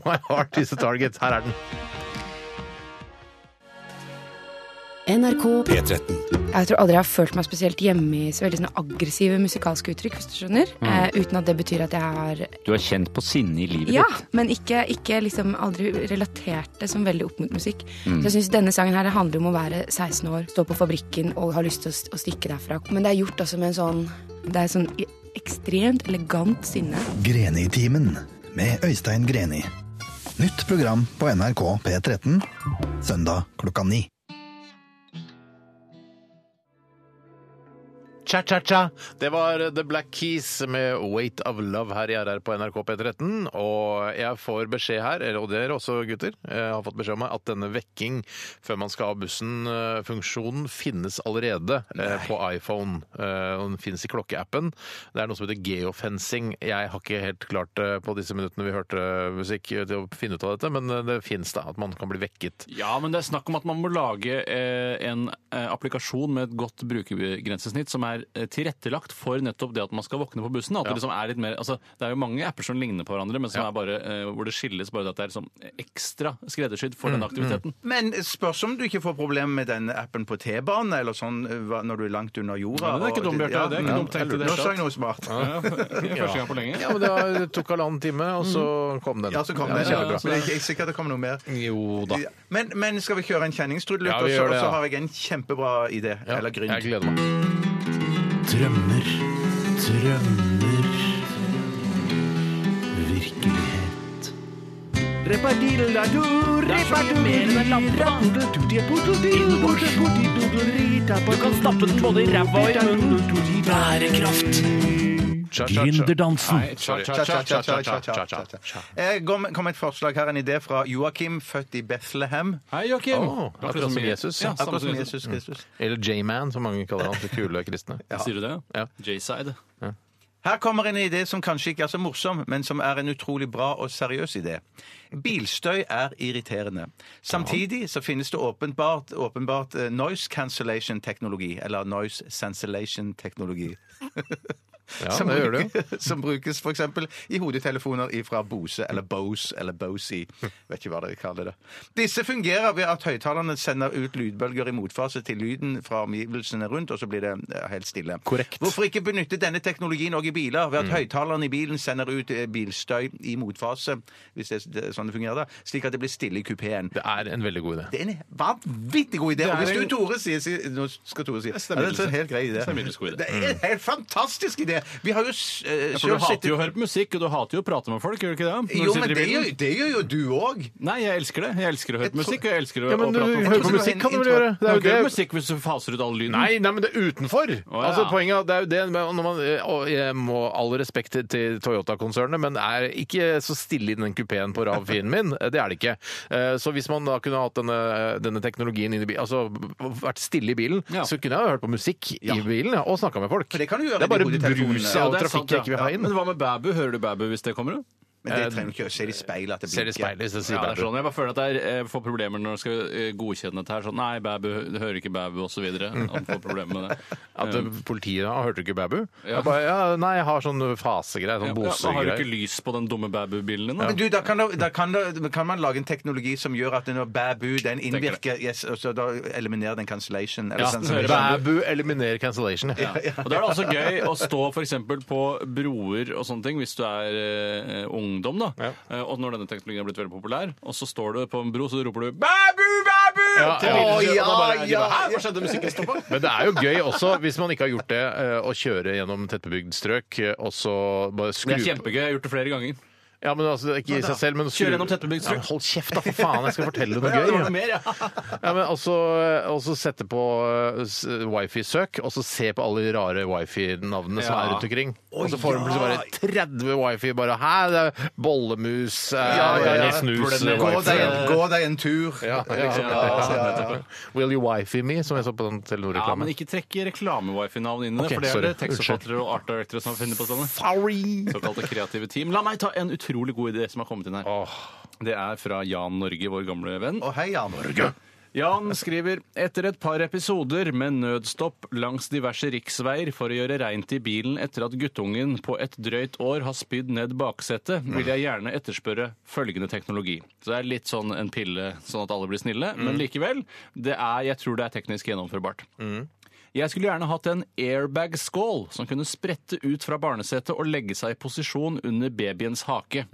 My heart is a target. Her er den.
NRK
P13.
Jeg tror aldri jeg har følt meg spesielt hjemme i så veldig sånne aggressive musikalske uttrykk, hvis du skjønner. Eh, uten at det betyr at jeg har
Mm. Du har kjent på sinne i livet
Ja, men ikke, ikke liksom aldri relatert det som veldig opp mot musikk.
Mm.
Så jeg syns denne sangen her handler om å være 16 år, stå på fabrikken og ha lyst til å, st- å stikke derfra. Men det er gjort også med en sånn Det er sånn i- ekstremt elegant sinne.
Greni-timen med Øystein Greni. Nytt program på NRK P13 søndag klokka ni.
Cha-cha-cha. Det var The Black Keys med Weight of Love her i RR på NRK P13. Og jeg får beskjed her, eller- og dere også, gutter, eh, har fått beskjed om meg, at denne vekking før man skal av bussen-funksjonen finnes allerede eh, på iPhone. Eh, og Den finnes i klokkeappen. Det er noe som heter geofencing. Jeg har ikke helt klart det på disse minuttene vi hørte musikk eh, til å finne ut av dette, men eh, det finnes da, at man kan bli vekket.
Ja, men det er snakk om at man må lage eh, en eh, applikasjon med et godt brukergrensesnitt som er er eh, tilrettelagt for nettopp det at man skal våkne på bussen. At det liksom er litt mer Altså, det er jo mange apper som ligner på hverandre, men som er bare eh, hvor det skilles bare det at det er liksom ekstra skreddersydd for den aktiviteten.
Men spørs om du ikke får problemer med den appen på T-banen eller sånn hva- når du er langt under jorda.
Ja, men det er ikke
og-
dumt, Bjarte. Det er ikke dumt tenkt i det hele
Nå sa
tatt.
jeg noe smart.
Første gang på lenge.
Ja, men Det tok halvannen time, og så kom den.
Ja, så kom
Ja,
det.
er kjempebra.
Men jeg er ikke sikker at det kommer noe mer.
Jo da.
Men, men skal vi kjøre en kjenningstrudelutt,
Ja, vi
og så-
gjør det,
og så
ja.
har jeg en kjempebra idé. Eller grunn.
Jeg gleder meg.
Drømmer, drømmer Virkelighet Du kan stappe den både i ræva og i munnen Bærekraft
Cha, cha, cha.
Gründerdansen
Nei, sorry. Cha, cha, cha, cha, cha, cha, cha, cha.
Jeg Eh, kom kom med et forslag her, en idé fra Joakim, født i Bethlehem.
Hei, Joakim.
Åh, akkurat som Jesus.
Ja,
Akkurat som
Jesus.
Jesus Kristus.
Eller J-Man, som mange kaller han. De kule kristne.
Sier du det?
Ja.
J-side.
Her kommer en idé som kanskje ikke er så morsom, men som er en utrolig bra og seriøs idé. Bilstøy er irriterende. Samtidig så finnes det åpenbart, åpenbart eh, noise cancellation-teknologi, eller noise cancellation-teknologi.
Ja,
som,
det gjør du.
brukes- som brukes f.eks. i hodetelefoner fra Bose eller Bose eller Bosey. Vet ikke hva dere kaller det. Disse fungerer ved at høyttalerne sender ut lydbølger i motfase til lyden fra omgivelsene rundt, og så blir det eh, helt stille.
Korrekt. Mm.
Hvorfor ikke benytte denne teknologien òg i biler, ved at høyttalerne i bilen sender ut eh, bilstøy i motfase, hvis det er s- sånn det fungerer, da, slik at det blir stille i kupeen?
Det er en veldig god idé.
Det er en vanvittig god idé. Og hvis du, Tore, sier, sier Nå skal Tore si ja, det. Er en helt grei idé.
Middels god idé.
Det er en helt fantastisk idé! Vi har jo s- eh,
For
selv
du hater
sittet
jo å høre på musikk, og du hater jo å prate med folk, gjør du ikke det? Når du
Jo,
sitter i
men det
bilen?
gjør, det gjør jo du òg.
Nei, jeg elsker det. Jeg elsker å høre
Jeg
på musikk, og jeg elsker å,
Ja, men
å
du
prate med
hører
folk.
på musikk, kan du vel gjøre?
Du
Det
kan
er jo
ikke høre
det.
musikk hvis du faser ut all lyden.
Nei, nei, men det er utenfor!
ja.
Altså Poenget er at det er jo det men når man, og Jeg må all respekt til- til Toyota-konsernet, men er ikke så stille i den kupeen på RAV4-en min. Det er det ikke. Eh, Så hvis man da kunne hatt denne, denne teknologien inn i bilen, altså vært stille i bilen,
Ja.
så kunne jeg jo hørt på musikk i bilen ja, og snakka med folk.
For det kan du gjøre
det er
med
bare
de hodetelefonene.
bruset
Ja,
og
det er sant,
trafikk jeg ikke vil ha
ja.
inn.
Men hva med Bæbu? Hører du Bæbu hvis det kommer? du?
Men det trenger du ikke å se i speilet at det
Ser i speilet
blinker.
hvis det sier
Ja, det er
Bæbu.
sånn. Jeg bare føler at jeg eh, får problemer når jeg skal eh, godkjenne dette her. Sånn, nei, Bæbu du hører ikke Bæbu, osv. Han får problemer med det.
At
Um,
eh, politiet da, hørte du ikke Bæbu?
Ja.
Jeg bare, ja, nei, jeg har sånn fasegreier,
ja,
sånn
men har du
bosegreier.
ikke lys på den dumme Bæbu-bilen din?
Men
da?
du, da kan, da, da, kan, da kan man lage en teknologi som gjør at når bæbu den innvirker yes, og så Da eliminerer den cancellation. Eller
Ja,
sånn,
den hører
Bæ-
Bæbu eliminerer cancellation. Ja.
Og Da er det altså gøy å stå f.eks. på broer og sånne ting, hvis du er eh, ungdom, da. Eh, og når denne teknologien er blitt veldig populær, og så står du på en bro, så roper du 'Bæbu, Bæbu!'
Ja,
til
ja.
bilen,
Å,
og da bare, de
ja,
bare,
ja.
Hæ, hva skjedde? Musikken stoppa?
Men det er jo gøy også, hvis man ikke har gjort det, eh, å kjøre gjennom tettbebygd strøk eh, og så bare skru
Det er kjempegøy. Jeg har gjort det flere ganger.
Ja, men altså, ikke i seg selv, men å skru-
Kjøre gjennom tettbebygd strøk.
Ja, men hold kjeft, da, for faen! Jeg skal fortelle deg noe gøy. Ja.
mer, ja.
Ja, men også, også sette på eh, s- wifi-søk, og så se på alle de rare wifi-navnene som
Ja.
er rundt omkring. Og så får du plutselig bare 30 wifi. bare, Hæ, det er bollemus, eh,
Ja, ja, ja.
snus
Gå
Gå
wifi.
deg, gå deg en tur.
Ja, ja, ja, ja. Will you wifi me, som jeg så på den
Ja, men
Telenor-reklamen.
ikke trekk reklame-wifi-navn inn i
Ok,
det, for det er
sorry.
det tekstforfattere og art directere som har funnet på sånne. Såkalte kreative team. La meg ta en utrolig god idé som har kommet inn her. Det er fra Jan Norge, vår gamle venn.
Og hei, Jan.
Jan skriver etter et par episoder med nødstopp langs diverse riksveier for å gjøre reint i bilen etter at guttungen på et drøyt år har spydd ned baksetet, vil jeg gjerne etterspørre følgende teknologi. Så det er litt sånn en pille, sånn at alle blir snille,
Mm.
men likevel, det er, jeg tror det er teknisk gjennomførbart. Jeg skulle gjerne hatt en airbag-skål som kunne sprette ut fra barnesetet og legge seg i posisjon under babyens hake.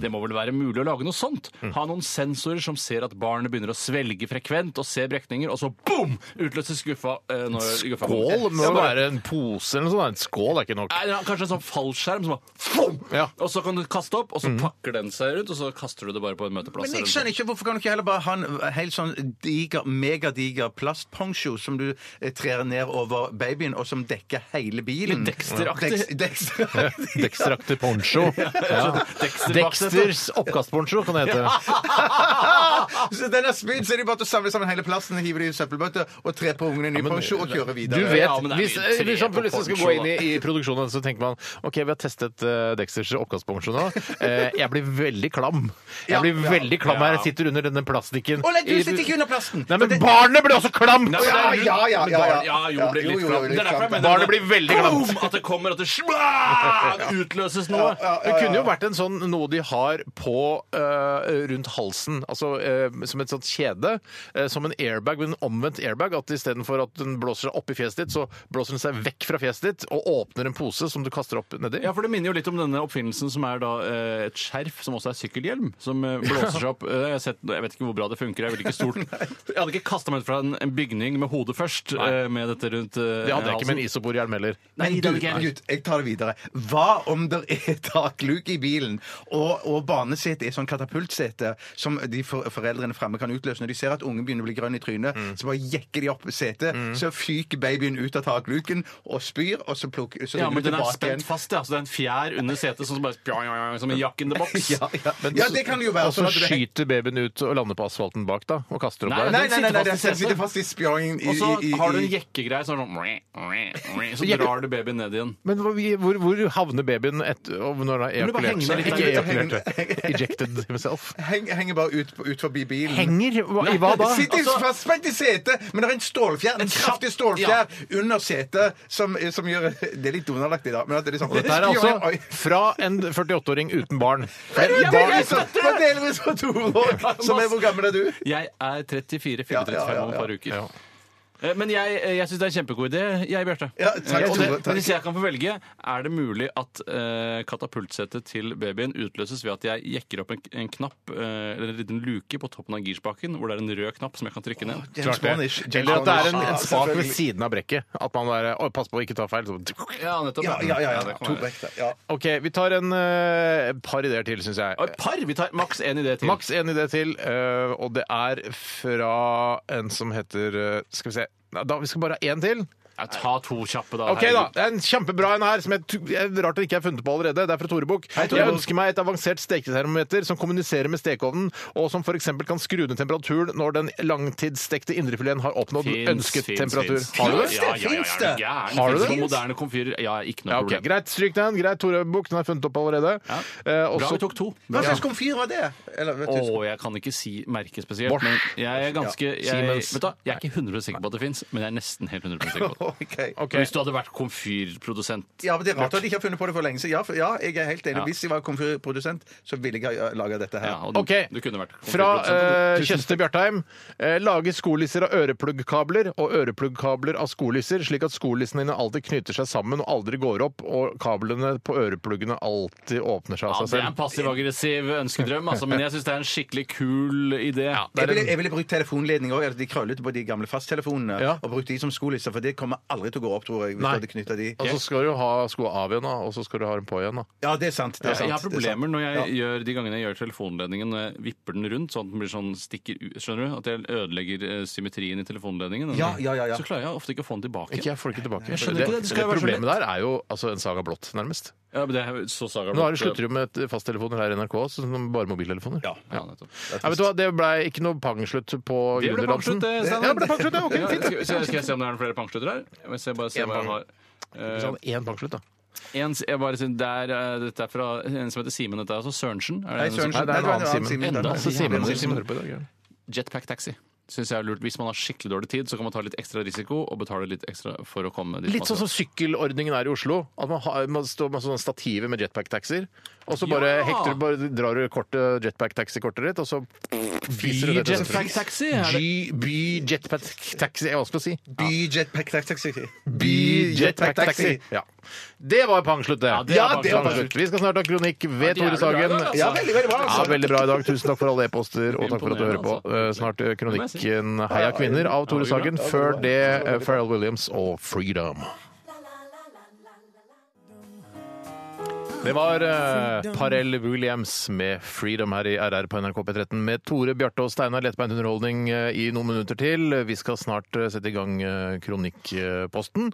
Det må vel være mulig å lage noe sånt? Ha noen sensorer som ser at barnet begynner å svelge frekvent og ser brekninger, og så boom! Utløses skuffa. eh, når skuffa
Skål
kommer.
må jo være en pose eller noe sånt. En skål er ikke nok.
Nei, det er Kanskje en sånn fallskjerm som bare fum!
Ja.
Og så kan du kaste opp, og så pakker den seg rundt, og så kaster du det bare på en møteplass.
Men jeg
eller noe.
skjønner ikke, Hvorfor kan du ikke heller bare ha en helt sånn diger, megadiger plastponcho som du eh, trer ned over babyen, og som dekker hele bilen?
Litt Dexter-aktig.
Dex- Dexter-aktig.
Dextrakter poncho. Ja.
Dexter baksetet.
Dexters oppkastponcho kan det hete.
Så den er spydd, så er det bare til å samle sammen hele plassen, hive det i søppelbøtte og tre på ungene i en ny poncho og kjøre
Du
videre.
vet,
Ja, men det er
Hvis
mye tre
hvis man
på
plutselig skal
poncho,
gå inn i, i produksjonen, så tenker man OK, vi har testet eh, Dexters oppkastponcho nå. Eh, jeg blir veldig klam. Jeg blir veldig klam her. Jeg sitter under denne plastikken.
Å nei, du sitter ikke under plasten!
Nei, men barnet blir også klamt!
Ja, ja, ja, ja, ja.
Ja, jo ble litt flatt. Det er derfor jeg
Barnet
mener at det-
blir veldig glatt.
Boom! At det kommer, at det smak, utløses noe.
Det kunne jo vært en sånn noe de har på eh, rundt halsen, altså eh, som et sånt kjede. eh, som en airbag, men en omvendt airbag. At istedenfor at den blåser seg opp i fjeset ditt, så blåser den seg vekk fra fjeset ditt og åpner en pose som du kaster opp nedi.
Ja, for Det minner jo litt om denne oppfinnelsen som er da eh, et skjerf som også er sykkelhjelm. Som eh, blåser seg opp. Eh, Jeg, har sett, jeg vet ikke hvor bra det funker. Jeg ville ikke stolt Jeg hadde ikke kasta meg ut fra en, en bygning med hodet først eh, med dette rundt
Det hadde jeg ikke med en
altså-
isoporhjelm heller.
Men du, gutt, jeg tar det videre. Hva om det er takluke i bilen, og, og barnesetet er sånn katapultsete som de for, foreldrene fremme kan utløse når de ser at ungen begynner å bli grønn i trynet? Så bare jekker de opp setet, så fyker babyen ut av takluken og spyr, og så plukker så
Ja,
ruller
men
du
den er
tilbake
spent
igjen.
fast, ja. Så det er en fjær under setet sånn som bare pjong, pjong, pjong, Som en jack in the box.
Ja, ja. ja, det kan jo være
Og så
sånn at det
skyter babyen ut og lander på asfalten bak, da. Og kaster opp
Nei,
der.
Nei, nei, nei, nei,
Den sitter
den
fast i setet.
sitter fast i spjåingen i,
Og så
i, i,
har du en
i
jekkegreie sånn Så
Jekke-
drar du babyen ned igjen.
Men hvor, hvor, hvor havner babyen et, og når den
Men
har
det
ejakulert
bare henger
seg?
litt
Ikke
der.
ejakulert, ejected himself.
Heng, henger bare ut, på- ut forbi bilen.
Henger? Hva- I hva da?
Det sitter altså, fastspent i setet, men det er en stålfjær, en kraftig stålfjær under setet som, som gjør Det er litt Donald-aktig, da. Men at det er sånn,
Og dette er altså fra en 48-åring uten barn.
Men
Men
det
barn
er så- det er delvis fra to år! Som er, hvor gammel er du?
Jeg er 34,
Ja,
fyller 35
ja, ja,
om et par
ja.
uker. Eh, Men jeg, eh, jeg syns det er en kjempegod idé, jeg, Bjarte.
Ja, takk,
Eh, og det-
Tore, takk.
men Hvis jeg kan få velge, er det mulig at eh, katapultsetet til babyen utløses ved at jeg jekker opp en, en knapp, eh, eller en liten luke på toppen av girspaken, hvor det er en rød knapp som jeg kan trykke ned?
James Bond-ish. James
Eller at det er en,
Bond-ish.
en spak ved
selvfølgelig.
siden av brekket. At man er, «Å, Pass på å ikke ta feil. Så.
Ja, nettopp.
Ja, ja, ja. ja.
det kan
To
være.
brekk der. Ja.
OK, vi tar en eh, par ideer til, syns jeg.
Og et par! Vi tar maks én idé til.
Maks en idé til, eh, og det er fra en som heter eh, Skal vi se Nei, da, Vi skal bare ha én til.
Ja, ta to kjappe, da.
Ok da, det er En kjempebra en her, som jeg, t- jeg, rart det ikke er funnet på allerede. Det er fra Tore Bukk.
Tore
Jeg
Bukk.
ønsker meg et avansert steketermometer som kommuniserer med stekeovnen, og som f.eks. kan skru ned temperaturen når den langtidsstekte indrefileten har oppnådd
Fins,
ønsket
fins,
temperatur.
fins.
Har du det?
Ja, ja, ja, ja,
Fins
ja,
det?
gjerne.
Har du
Fins
det?
på Moderne komfyrer. Ja, ikke noe
Ja, ok,
problem.
Greit, stryk den. Greit, Tore Bukk, den er funnet opp allerede.
Ja.
Eh,
Bra
også-
vi tok to.
Hva slags komfyr var det? Eller, vet
Å,
du,
jeg kan ikke si merke spesielt,
Bosch.
men jeg er ganske
Ja.
jeg,
Siemens.
vet du, hva, jeg er ikke 100 sikker på at det fins, men jeg er nesten helt 100 sikker på det.
Ok.
Ok.
Hvis du hadde vært komfyrprodusent
Ja, men Det er rart at de ikke har funnet på det for lenge siden. Ja, for, ja jeg er helt enig. Hvis jeg var komfyrprodusent, så ville jeg ha laga dette her.
ja, og
Ok.
du kunne vært
Fra
komfyrprodusent.
eh, Kjøste Bjartheim. Eh, lage skolisser av øreplugg-kabler og øreplugg-kabler av skolisser, slik at skolissene dine alltid knytter seg sammen og aldri går opp, og kablene på ørepluggene alltid åpner seg
ja,
av seg
det er en
selv.
passiv-aggressiv ønskedrøm, altså, men jeg syns det er en skikkelig kul idé.
Jeg ville, jeg ville brukt telefonledning òg. De krøllete på de gamle fasttelefonene.
Ja.
Og brukt de som skolisser, for det kommer aldri til å gå opp, tror jeg. Hvis
Nei.
du hadde knyttet de.
Og så skal du ha skoa av igjen, da, og så skal du ha dem på igjen. da.
Ja, det er sant. Det er sant
Jeg har
det er sant.
problemer når jeg gjør, de gangene jeg gjør telefonledningen, når jeg vipper den rundt sånn at den blir sånn stikker ut. Skjønner du? At jeg ødelegger eh, symmetrien i telefonledningen.
Ja, ja, ja, ja.
Så klarer jeg ofte ikke å få den tilbake.
Ikke jeg får det ikke tilbake.
jeg skjønner ikke det. Det skal jo være så
problemet der er jo altså, en saga blått, nærmest.
Ja, men det er jo så saga eh,
Nå har de slutter jo med et fasttelefoner her i NRK, så sånn bare mobiltelefoner.
Ja.
Ja, nettopp.
Nei, vet du hva, Det ble ikke noe pangslutt på
Det ble
Gründerdansen.
pangslutt, det, Steinar.
Ja, det ble pangslutt, ja, ok,
Ja,
fint.
skal, skal jeg se om det er noen flere pangslutter her? Jeg må se, bare se
En
hva jeg
pang.
har. Eh,
Sånn, én pangslutt, da.
en, s- jeg bare, sier, der, eh, dette er fra en som heter Simen. Dette er altså Sørensen. Er det
Nei,
en som-
Sørensen.
Nei, det er en
Nei,
annen Simen.
Enda
Enda
Simen.
Simen.
Simen.
Simen hører på i dag. ja.
Jetpack Taxi. Synes jeg er lurt. Hvis man har skikkelig dårlig tid, så kan man ta litt ekstra risiko og betale litt ekstra for å komme dit. man
Litt sånn
skal.
som sykkelordningen er i Oslo. At man, har, man står med sånne stativer med jetpack-taxier, og så
Ja!
bare hekter du bare drar du kortet jetpack-taxi-kortet ditt, og så fiser du det til sentrum.
Jetpack Taxi? Er det?
G- By jetpack-taxi Jeg skal si
By jetpack taxi.
By jetpack-taxi. Ja. Det var pangslutt, det.
Ja, det er pangslutt.
Vi skal snart ha kronikk ved Tore
Ja, det er bra i
Sagen.
dag, altså.
Ja, veldig, veldig bra.
Ja,
Altså.
veldig bra i dag. Tusen takk for alle e-poster, og takk for at du hører på. Eh, Snart eh, kronikken Heia kvinner av Tore Sagen. Før det eh, Pharrell Williams og Freedom. Det var eh, Pharrell Williams med 'Freedom' her i RR på NRK P13 med Tore, Bjarte og Steinar lettbeint underholdning eh, i noen minutter til. Vi skal snart eh, sette i gang eh, kronikkposten,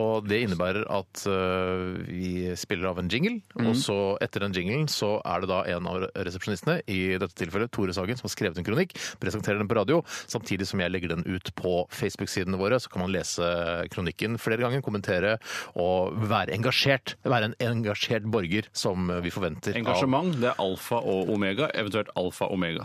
og det innebærer at eh, vi spiller av en jingle, og så etter den jinglen så er det da en av resepsjonistene, i dette tilfellet Tore Sagen, som har skrevet en kronikk, presenterer den på radio, samtidig som jeg legger den ut på Facebook-sidene våre, så kan man lese kronikken flere ganger, kommentere og være engasjert, være en engasjert borger Norger som eh, vi forventer. av-
Engasjement, det er alfa og omega, eventuelt alfa-omega.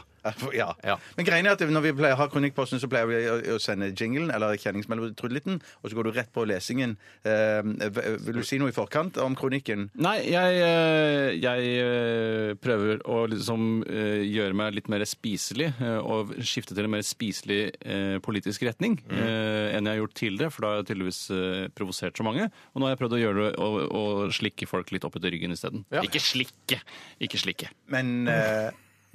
Ja. Men greien er at når vi pleier, har Kronikkposten, så pleier vi å, å sende jinglen eller kjenningsmeloditrudeliten, og så går du rett på lesingen. Eh, v- vil du si noe i forkant om kronikken?
Nei, jeg, eh, jeg eh, prøver å liksom eh, gjøre meg litt mer spiselig eh, og skifte til en mer spiselig eh, politisk retning
Mm.
eh, enn jeg har gjort tidligere, for da har jeg tydeligvis eh, provosert så mange. Og nå har jeg prøvd å gjøre det å, å slikke folk litt oppetter ryggen isteden. Ikke slikke! Ikke slikke.
Men eh,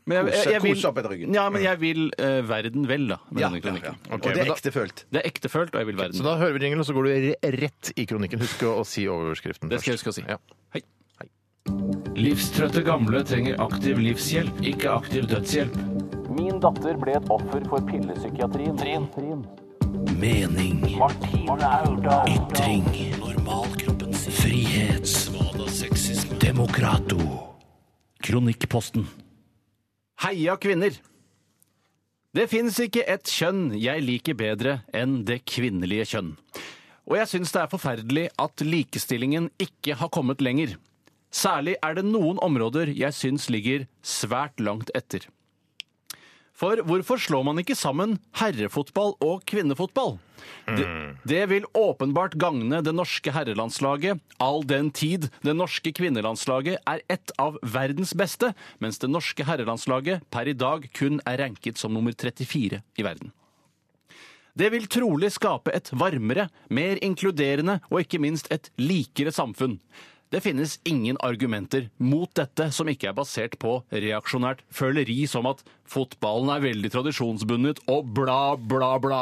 Men
Kose- kose opp etter ryggen.
Ja, men jeg vil eh, verden vel, da, med
Ja,
denne kronikken.
ja, ja. Og det er
men da-
ektefølt.
Det er ektefølt, og jeg vil verden.
Så da hører vi jinglen, og så går du re- rett i kronikken. Husk å å si overskriften.
Det skal jeg
først.
huske å si.
Ja.
Livstrøtte gamle trenger aktiv livshjelp, ikke aktiv dødshjelp.
Min datter ble et offer for pillepsykiatrien. Trin.
Mening. Ytring. Frihet. Demokrato. Kronikkposten.
Heia kvinner! Det fins ikke ett kjønn jeg liker bedre enn det kvinnelige kjønn. Og jeg syns det er forferdelig at likestillingen ikke har kommet lenger. Særlig er det noen områder jeg syns ligger svært langt etter. For hvorfor slår man ikke sammen herrefotball og kvinnefotball? Det, det vil åpenbart gagne det norske herrelandslaget, all den tid det norske kvinnelandslaget er ett av verdens beste, mens det norske herrelandslaget per i dag kun er ranket som nummer 34 i verden. Det vil trolig skape et varmere, mer inkluderende og ikke minst et likere samfunn. Det finnes ingen argumenter mot dette som ikke er basert på reaksjonært føleri som at fotballen er veldig tradisjonsbundet og bla, bla, bla.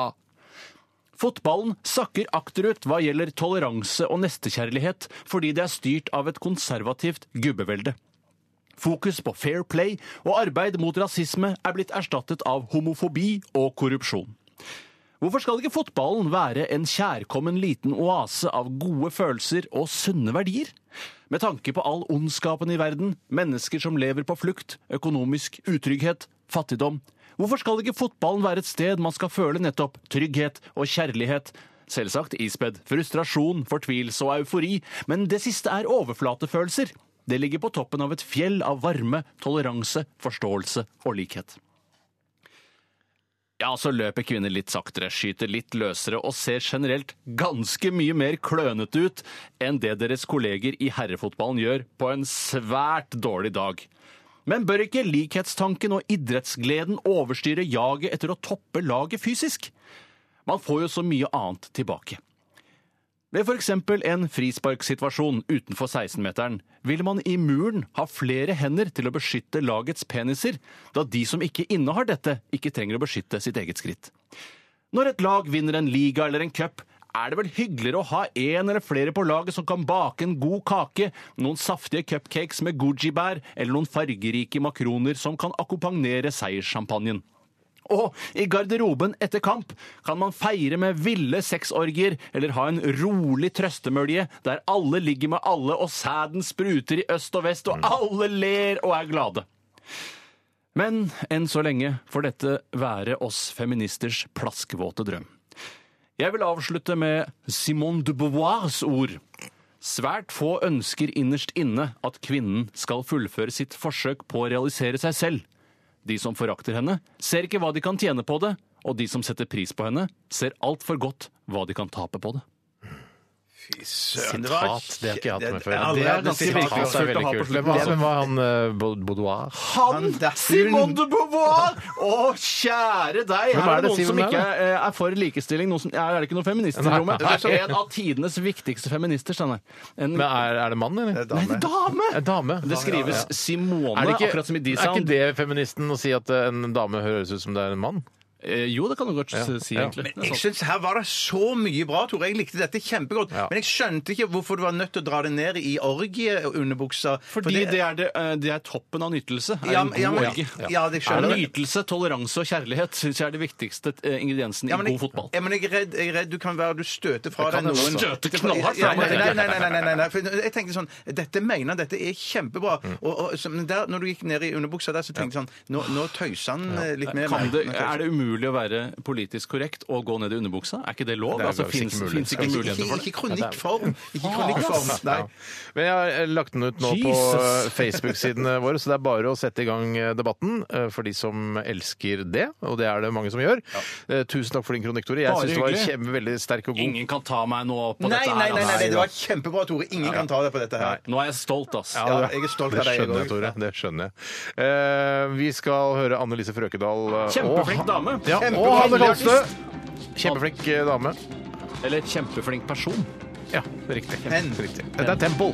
Fotballen sakker akterut hva gjelder toleranse og nestekjærlighet fordi det er styrt av et konservativt gubbevelde. Fokus på fair play og arbeid mot rasisme er blitt erstattet av homofobi og korrupsjon. Hvorfor skal ikke fotballen være en kjærkommen liten oase av gode følelser og sunne verdier? Med tanke på all ondskapen i verden, mennesker som lever på flukt, økonomisk utrygghet, fattigdom. Hvorfor skal ikke fotballen være et sted man skal føle nettopp trygghet og kjærlighet? Selvsagt ispedd frustrasjon, fortvilelse og eufori, men det siste er overflatefølelser. Det ligger på toppen av et fjell av varme, toleranse, forståelse og likhet. Ja, så løper kvinner litt saktere, skyter litt løsere og ser generelt ganske mye mer klønete ut enn det deres kolleger i herrefotballen gjør på en svært dårlig dag. Men bør ikke likhetstanken og idrettsgleden overstyre jaget etter å toppe laget fysisk? Man får jo så mye annet tilbake. Ved f.eks. en frisparksituasjon utenfor 16-meteren vil man i muren ha flere hender til å beskytte lagets peniser, da de som ikke innehar dette, ikke trenger å beskytte sitt eget skritt. Når et lag vinner en liga eller en cup, er det vel hyggeligere å ha én eller flere på laget som kan bake en god kake, noen saftige cupcakes med goji-bær eller noen fargerike makroner som kan akkompagnere seierssjampanjen. Og i garderoben etter kamp kan man feire med ville sexorgier eller ha en rolig trøstemølje der alle ligger med alle og sæden spruter i øst og vest og alle ler og er glade. Men enn så lenge får dette være oss feministers plaskvåte drøm. Jeg vil avslutte med Simone de Beauvoirs ord. Svært få ønsker innerst inne at kvinnen skal fullføre sitt forsøk på å realisere seg selv. De som forakter henne, ser ikke hva de kan tjene på det, og de som setter pris på henne, ser altfor godt hva de kan tape på det.
Søren, det var-
Sitat, det har ikke jeg hatt med før.
Det er
Det er
allerede
ganske
sitat. altså.
virkelig- det er veldig kult. Hvem var- Hvem var han eh, Baud- Boudoir?
Han,
det er
Simone de Beauvoir! Å, kjære deg!
Hvem
Her
er det,
er det noen
si
som
hvem det
ikke
er,
eh, er for likestilling. Noen som, ja, er det ikke noen feminister i
Nei,
rommet?
nei.
En av tidenes viktigste feminister, Steinar. En
Men er, er det mann, eller?
Nei, det er dame!
En dame.
Det skrives Simone,
Er det ikke,
akkurat som i
er ikke
D-Sound.
det feministen å si at eh, en dame høres ut som det er en mann?
Eh, Jo, det kan du godt s- si,
Ja.
egentlig. sånn.
Jeg synes Her var det så mye bra, Tore. Jeg likte dette kjempegodt.
Ja.
Men jeg skjønte ikke hvorfor du var nødt til å dra det ned i orgieunderbuksa. For
Fordi det er, det, eh, det er toppen av nytelse. Er
Ja,
en
men-
god
ja, men-
orgie.
ja, ja, det skjøngrønne.
Nytelse, toleranse og kjærlighet syns jeg er de viktigste eh, ingrediensene
Ja,
i
men jeg,
god fotball.
ja, men jeg er redd, jeg er redd du kan være du støter fra
Det kan
deg
jeg
noen
støte knallhardt fra
Ja, Nei,
meg.
nei, nei, nei, nei, nei, nei. For jeg tenkte sånn Dette mener han, dette er kjempebra. Og, og så- men der, når du gikk ned i underbuksa der, så tenkte jeg sånn Nå, nå tøyser han eh, litt mer.
Kan det,
Nå tøyser-
er det umulig umulig å være politisk korrekt og gå ned i underbuksa? Er ikke det lov?
Det er
altså,
faktisk
Fins
ikke mulig.
fins ikke
Ikke-
muligheter for det?
ikke kronikkform. Ikke
Ah,
kronikkform.
yes.
Nei.
Ja. Men jeg har eh, lagt den ut nå på
Jesus.
eh, Facebook-sidene våre, så det er bare å sette i gang eh, debatten eh, for de som elsker det, og det er det mange som gjør. Eh, Tusen takk for din kronikk, Tore. Jeg
Bare
syns det var
hyggelig.
kjempe, veldig sterk og god.
Ingen kan ta meg nå på
Nei,
dette
nei,
her.
nei, nei,
altså.
det var kjempebra, Tore. Ingen kan ta deg på dette her.
Nå er jeg stolt, ass.
Ja, jeg er stolt av
Det
deg. jeg
skjønner jeg,
også.
Tore. Det skjønner jeg. Eh, vi skal høre Anne Lise Frøkedal. eh,
Kjempeflink
og-
dame.
Ja, og
Kjempeflink
Hanne
artist.
Kalstø. Kjempeflink eh, dame.
Eller kjempeflink person.
Ja, riktig.
Men
riktig. Dette er Temple.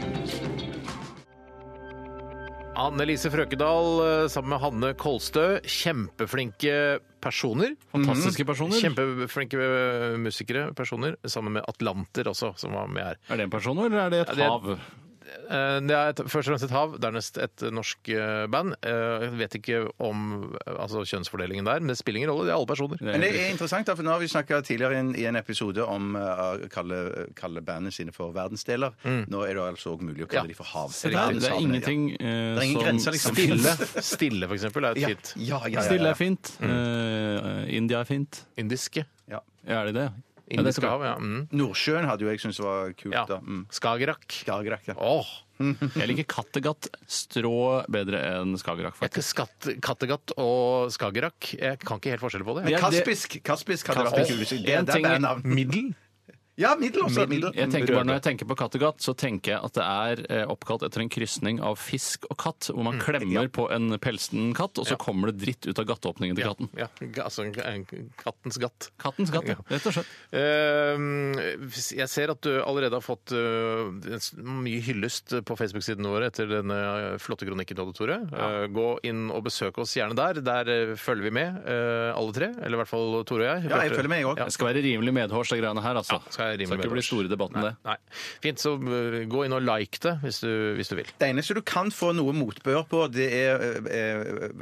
Anne Lise Frøkedal eh, sammen med Hanne Kolstø. Kjempeflinke personer.
Fantastiske personer.
Kjempeflinke eh, musikere, personer. Sammen med Atlanter også, som var med her.
Er det en person, eller er det
Ja,
et
det er-
hav?
Eh, Det er et, først og fremst et hav, dernest et norsk eh, band. Eh, Jeg vet ikke om eh, altså, kjønnsfordelingen der, men det spiller ingen rolle. Det er alle personer.
Men det er interessant, da, for nå har vi snakka tidligere i en, i en episode om eh, å kalle, kalle bandene sine for verdensdeler. Nå er det altså også mulig å
Ja.
kalle dem for hav.
Mm. Det er, det er ingenting eh,
er ingen
som
grenser, liksom.
Stille.
Stille, for eksempel, er et
Ja,
hit.
ja, ja, ja,
Stille er
ja.
fint.
Mm.
Eh, India er fint.
Indiske.
ja.
Ja, er det det? Ja, det
Indiske
tror jeg.
hav, ja. Mm.
Nordsjøen hadde jo jeg syntes var kult,
ja.
da. Mm.
Skagerrak.
Skagerrak, ja.
Åh,
Jeg liker Kattegat strå bedre enn Skagerrak,
jeg
faktisk.
vet ikke, skatt, Kattegat og Skagerrak. Jeg kan ikke helt forskjell på det.
Ja, det-
Kaspisk Kaspisk hadde vært
Kaspisk.
det kuleste. Det,
En
det
ting-
er bandnavn. Middel? Ja, middel også. Middel.
Jeg tenker bare Når jeg tenker på Kattegat, så tenker jeg at det er eh, oppkalt etter en krysning av fisk og katt, hvor
Mm.
man klemmer på en pelsen katt, og så kommer det dritt ut av gattåpningen til katten.
Ja, altså en- en- kattens gatt.
Kattens gatt, ja. rett og slett.
Eh, Jeg ser at du allerede har fått eh, en s- mye hyllest på Facebook-sidene våre etter denne eh, flotte kronikken du hadde, Tore. Eh, Gå inn og besøk oss gjerne der. Der eh, følger vi med, eh, alle tre. Eller i hvert fall Tore og jeg.
Ja, jeg følger med, jeg òg.
Jeg skal være rimelig medhårs, de greiene her, altså.
Ja, skal jeg rimelig
ikke bli
medhårs.
store debatten, det.
Nei. Fint, så eh, gå inn og like det hvis du, hvis du vil.
Det eneste du kan få noe motbør på, det er eh, eh,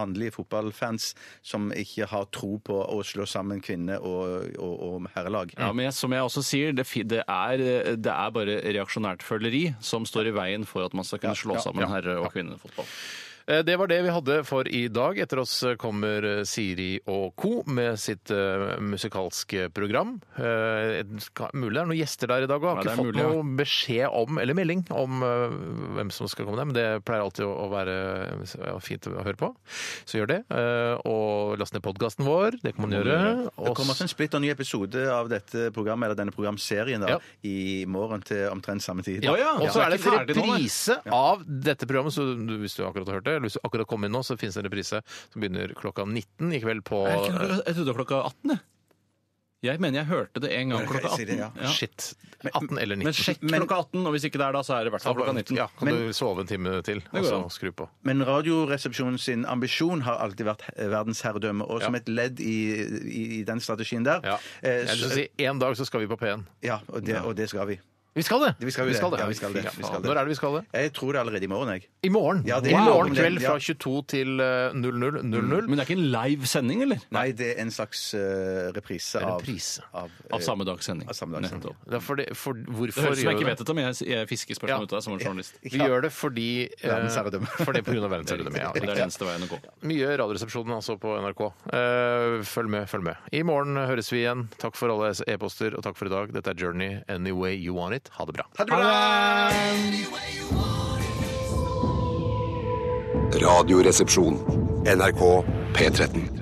mannlige fotballfans som ikke har tro på å slå sammen kvinne- og, og, og herrelag.
Mm.
Ja, men jeg, som jeg også sier, det, fi- det, er, det er bare reaksjonært føleri som står i veien for at man skal kunne slå sammen herre- og kvinnefotball.
Eh, Det var det vi hadde for i dag. Etter oss kommer eh, Siri og co. med sitt eh, musikalske program. Eh, et- ka- Mulig det er noen gjester der i dag òg. Har
Ja,
ikke
det er
fått
mulig, ja.
noe beskjed om, eller melding om, eh, hvem som skal komme der, men det pleier alltid å å være ja, fint å høre på. Så gjør det. Eh, Og last ned podkasten vår. Det kan man gjøre.
Det kommer
Og
også en splitter ny episode av dette programmet, eller denne programserien da,
Ja.
i morgen til omtrent samme tid.
Ja,
ja.
Og så
Ja,
er det en
det er ikke ferdig nå, nei.
reprise av dette programmet. Så du- hvis du akkurat har hørt det, eller hvis du akkurat kom inn nå, så finnes det en reprise som begynner klokka 19 i kveld på
Jeg trodde det var klokka 18, jeg. Jeg mener jeg hørte det en gang klokka
Jeg sier det,
18.
ja.
Ja.
Shit. 18 eller 19.
Men sjekk klokka 18, og hvis ikke det er da, så er det i hvert fall klokka 19.
Ja, kan du sove en time til, og
går
så
an.
skru på.
Men Radioresepsjonen sin ambisjon har alltid vært verdensherredømme, og som
Ja.
et ledd i, i, i den strategien der
Ja.
eh,
Jeg vil
så-
si, En dag så skal vi på P1.
ja, og, det, og det skal vi.
Vi skal det!
Vi skal jo det. Ja, vi skal det.
Fy
Vi
faen.
skal det.
Når er det vi skal det?
Jeg tror det er allerede i morgen, jeg.
I morgen!
Ja, det
I
er-
morgen
Ja.
kveld fra 22 til eh, 00. 00.
Men det er ikke en live sending, eller?
Nei, det er en slags eh, reprise
en
av
reprise.
Av,
Av samme dags sending.
Av samme dags sending.
Nettopp.
Det er fordi, for,
Det
hvorfor
høres ut som jeg
gjør
ikke
vi det?
vet dette, men jeg, jeg fisker spørsmål
Ja.
ut av det som journalist.
Vi gjør det fordi eh,
Verdensherredømme.
Fordi på grunn av
Det er
verdensherredømmet. Ja,
det er
riktig.
den eneste veien å gå.
Mye Radioresepsjonen altså på NRK. Eh, følg med, følg med. I morgen høres vi igjen. Takk for alle e-poster, og takk for i dag. Dette er Journey any way you want it. Ha det bra.
Radioresepsjon. NRK P13.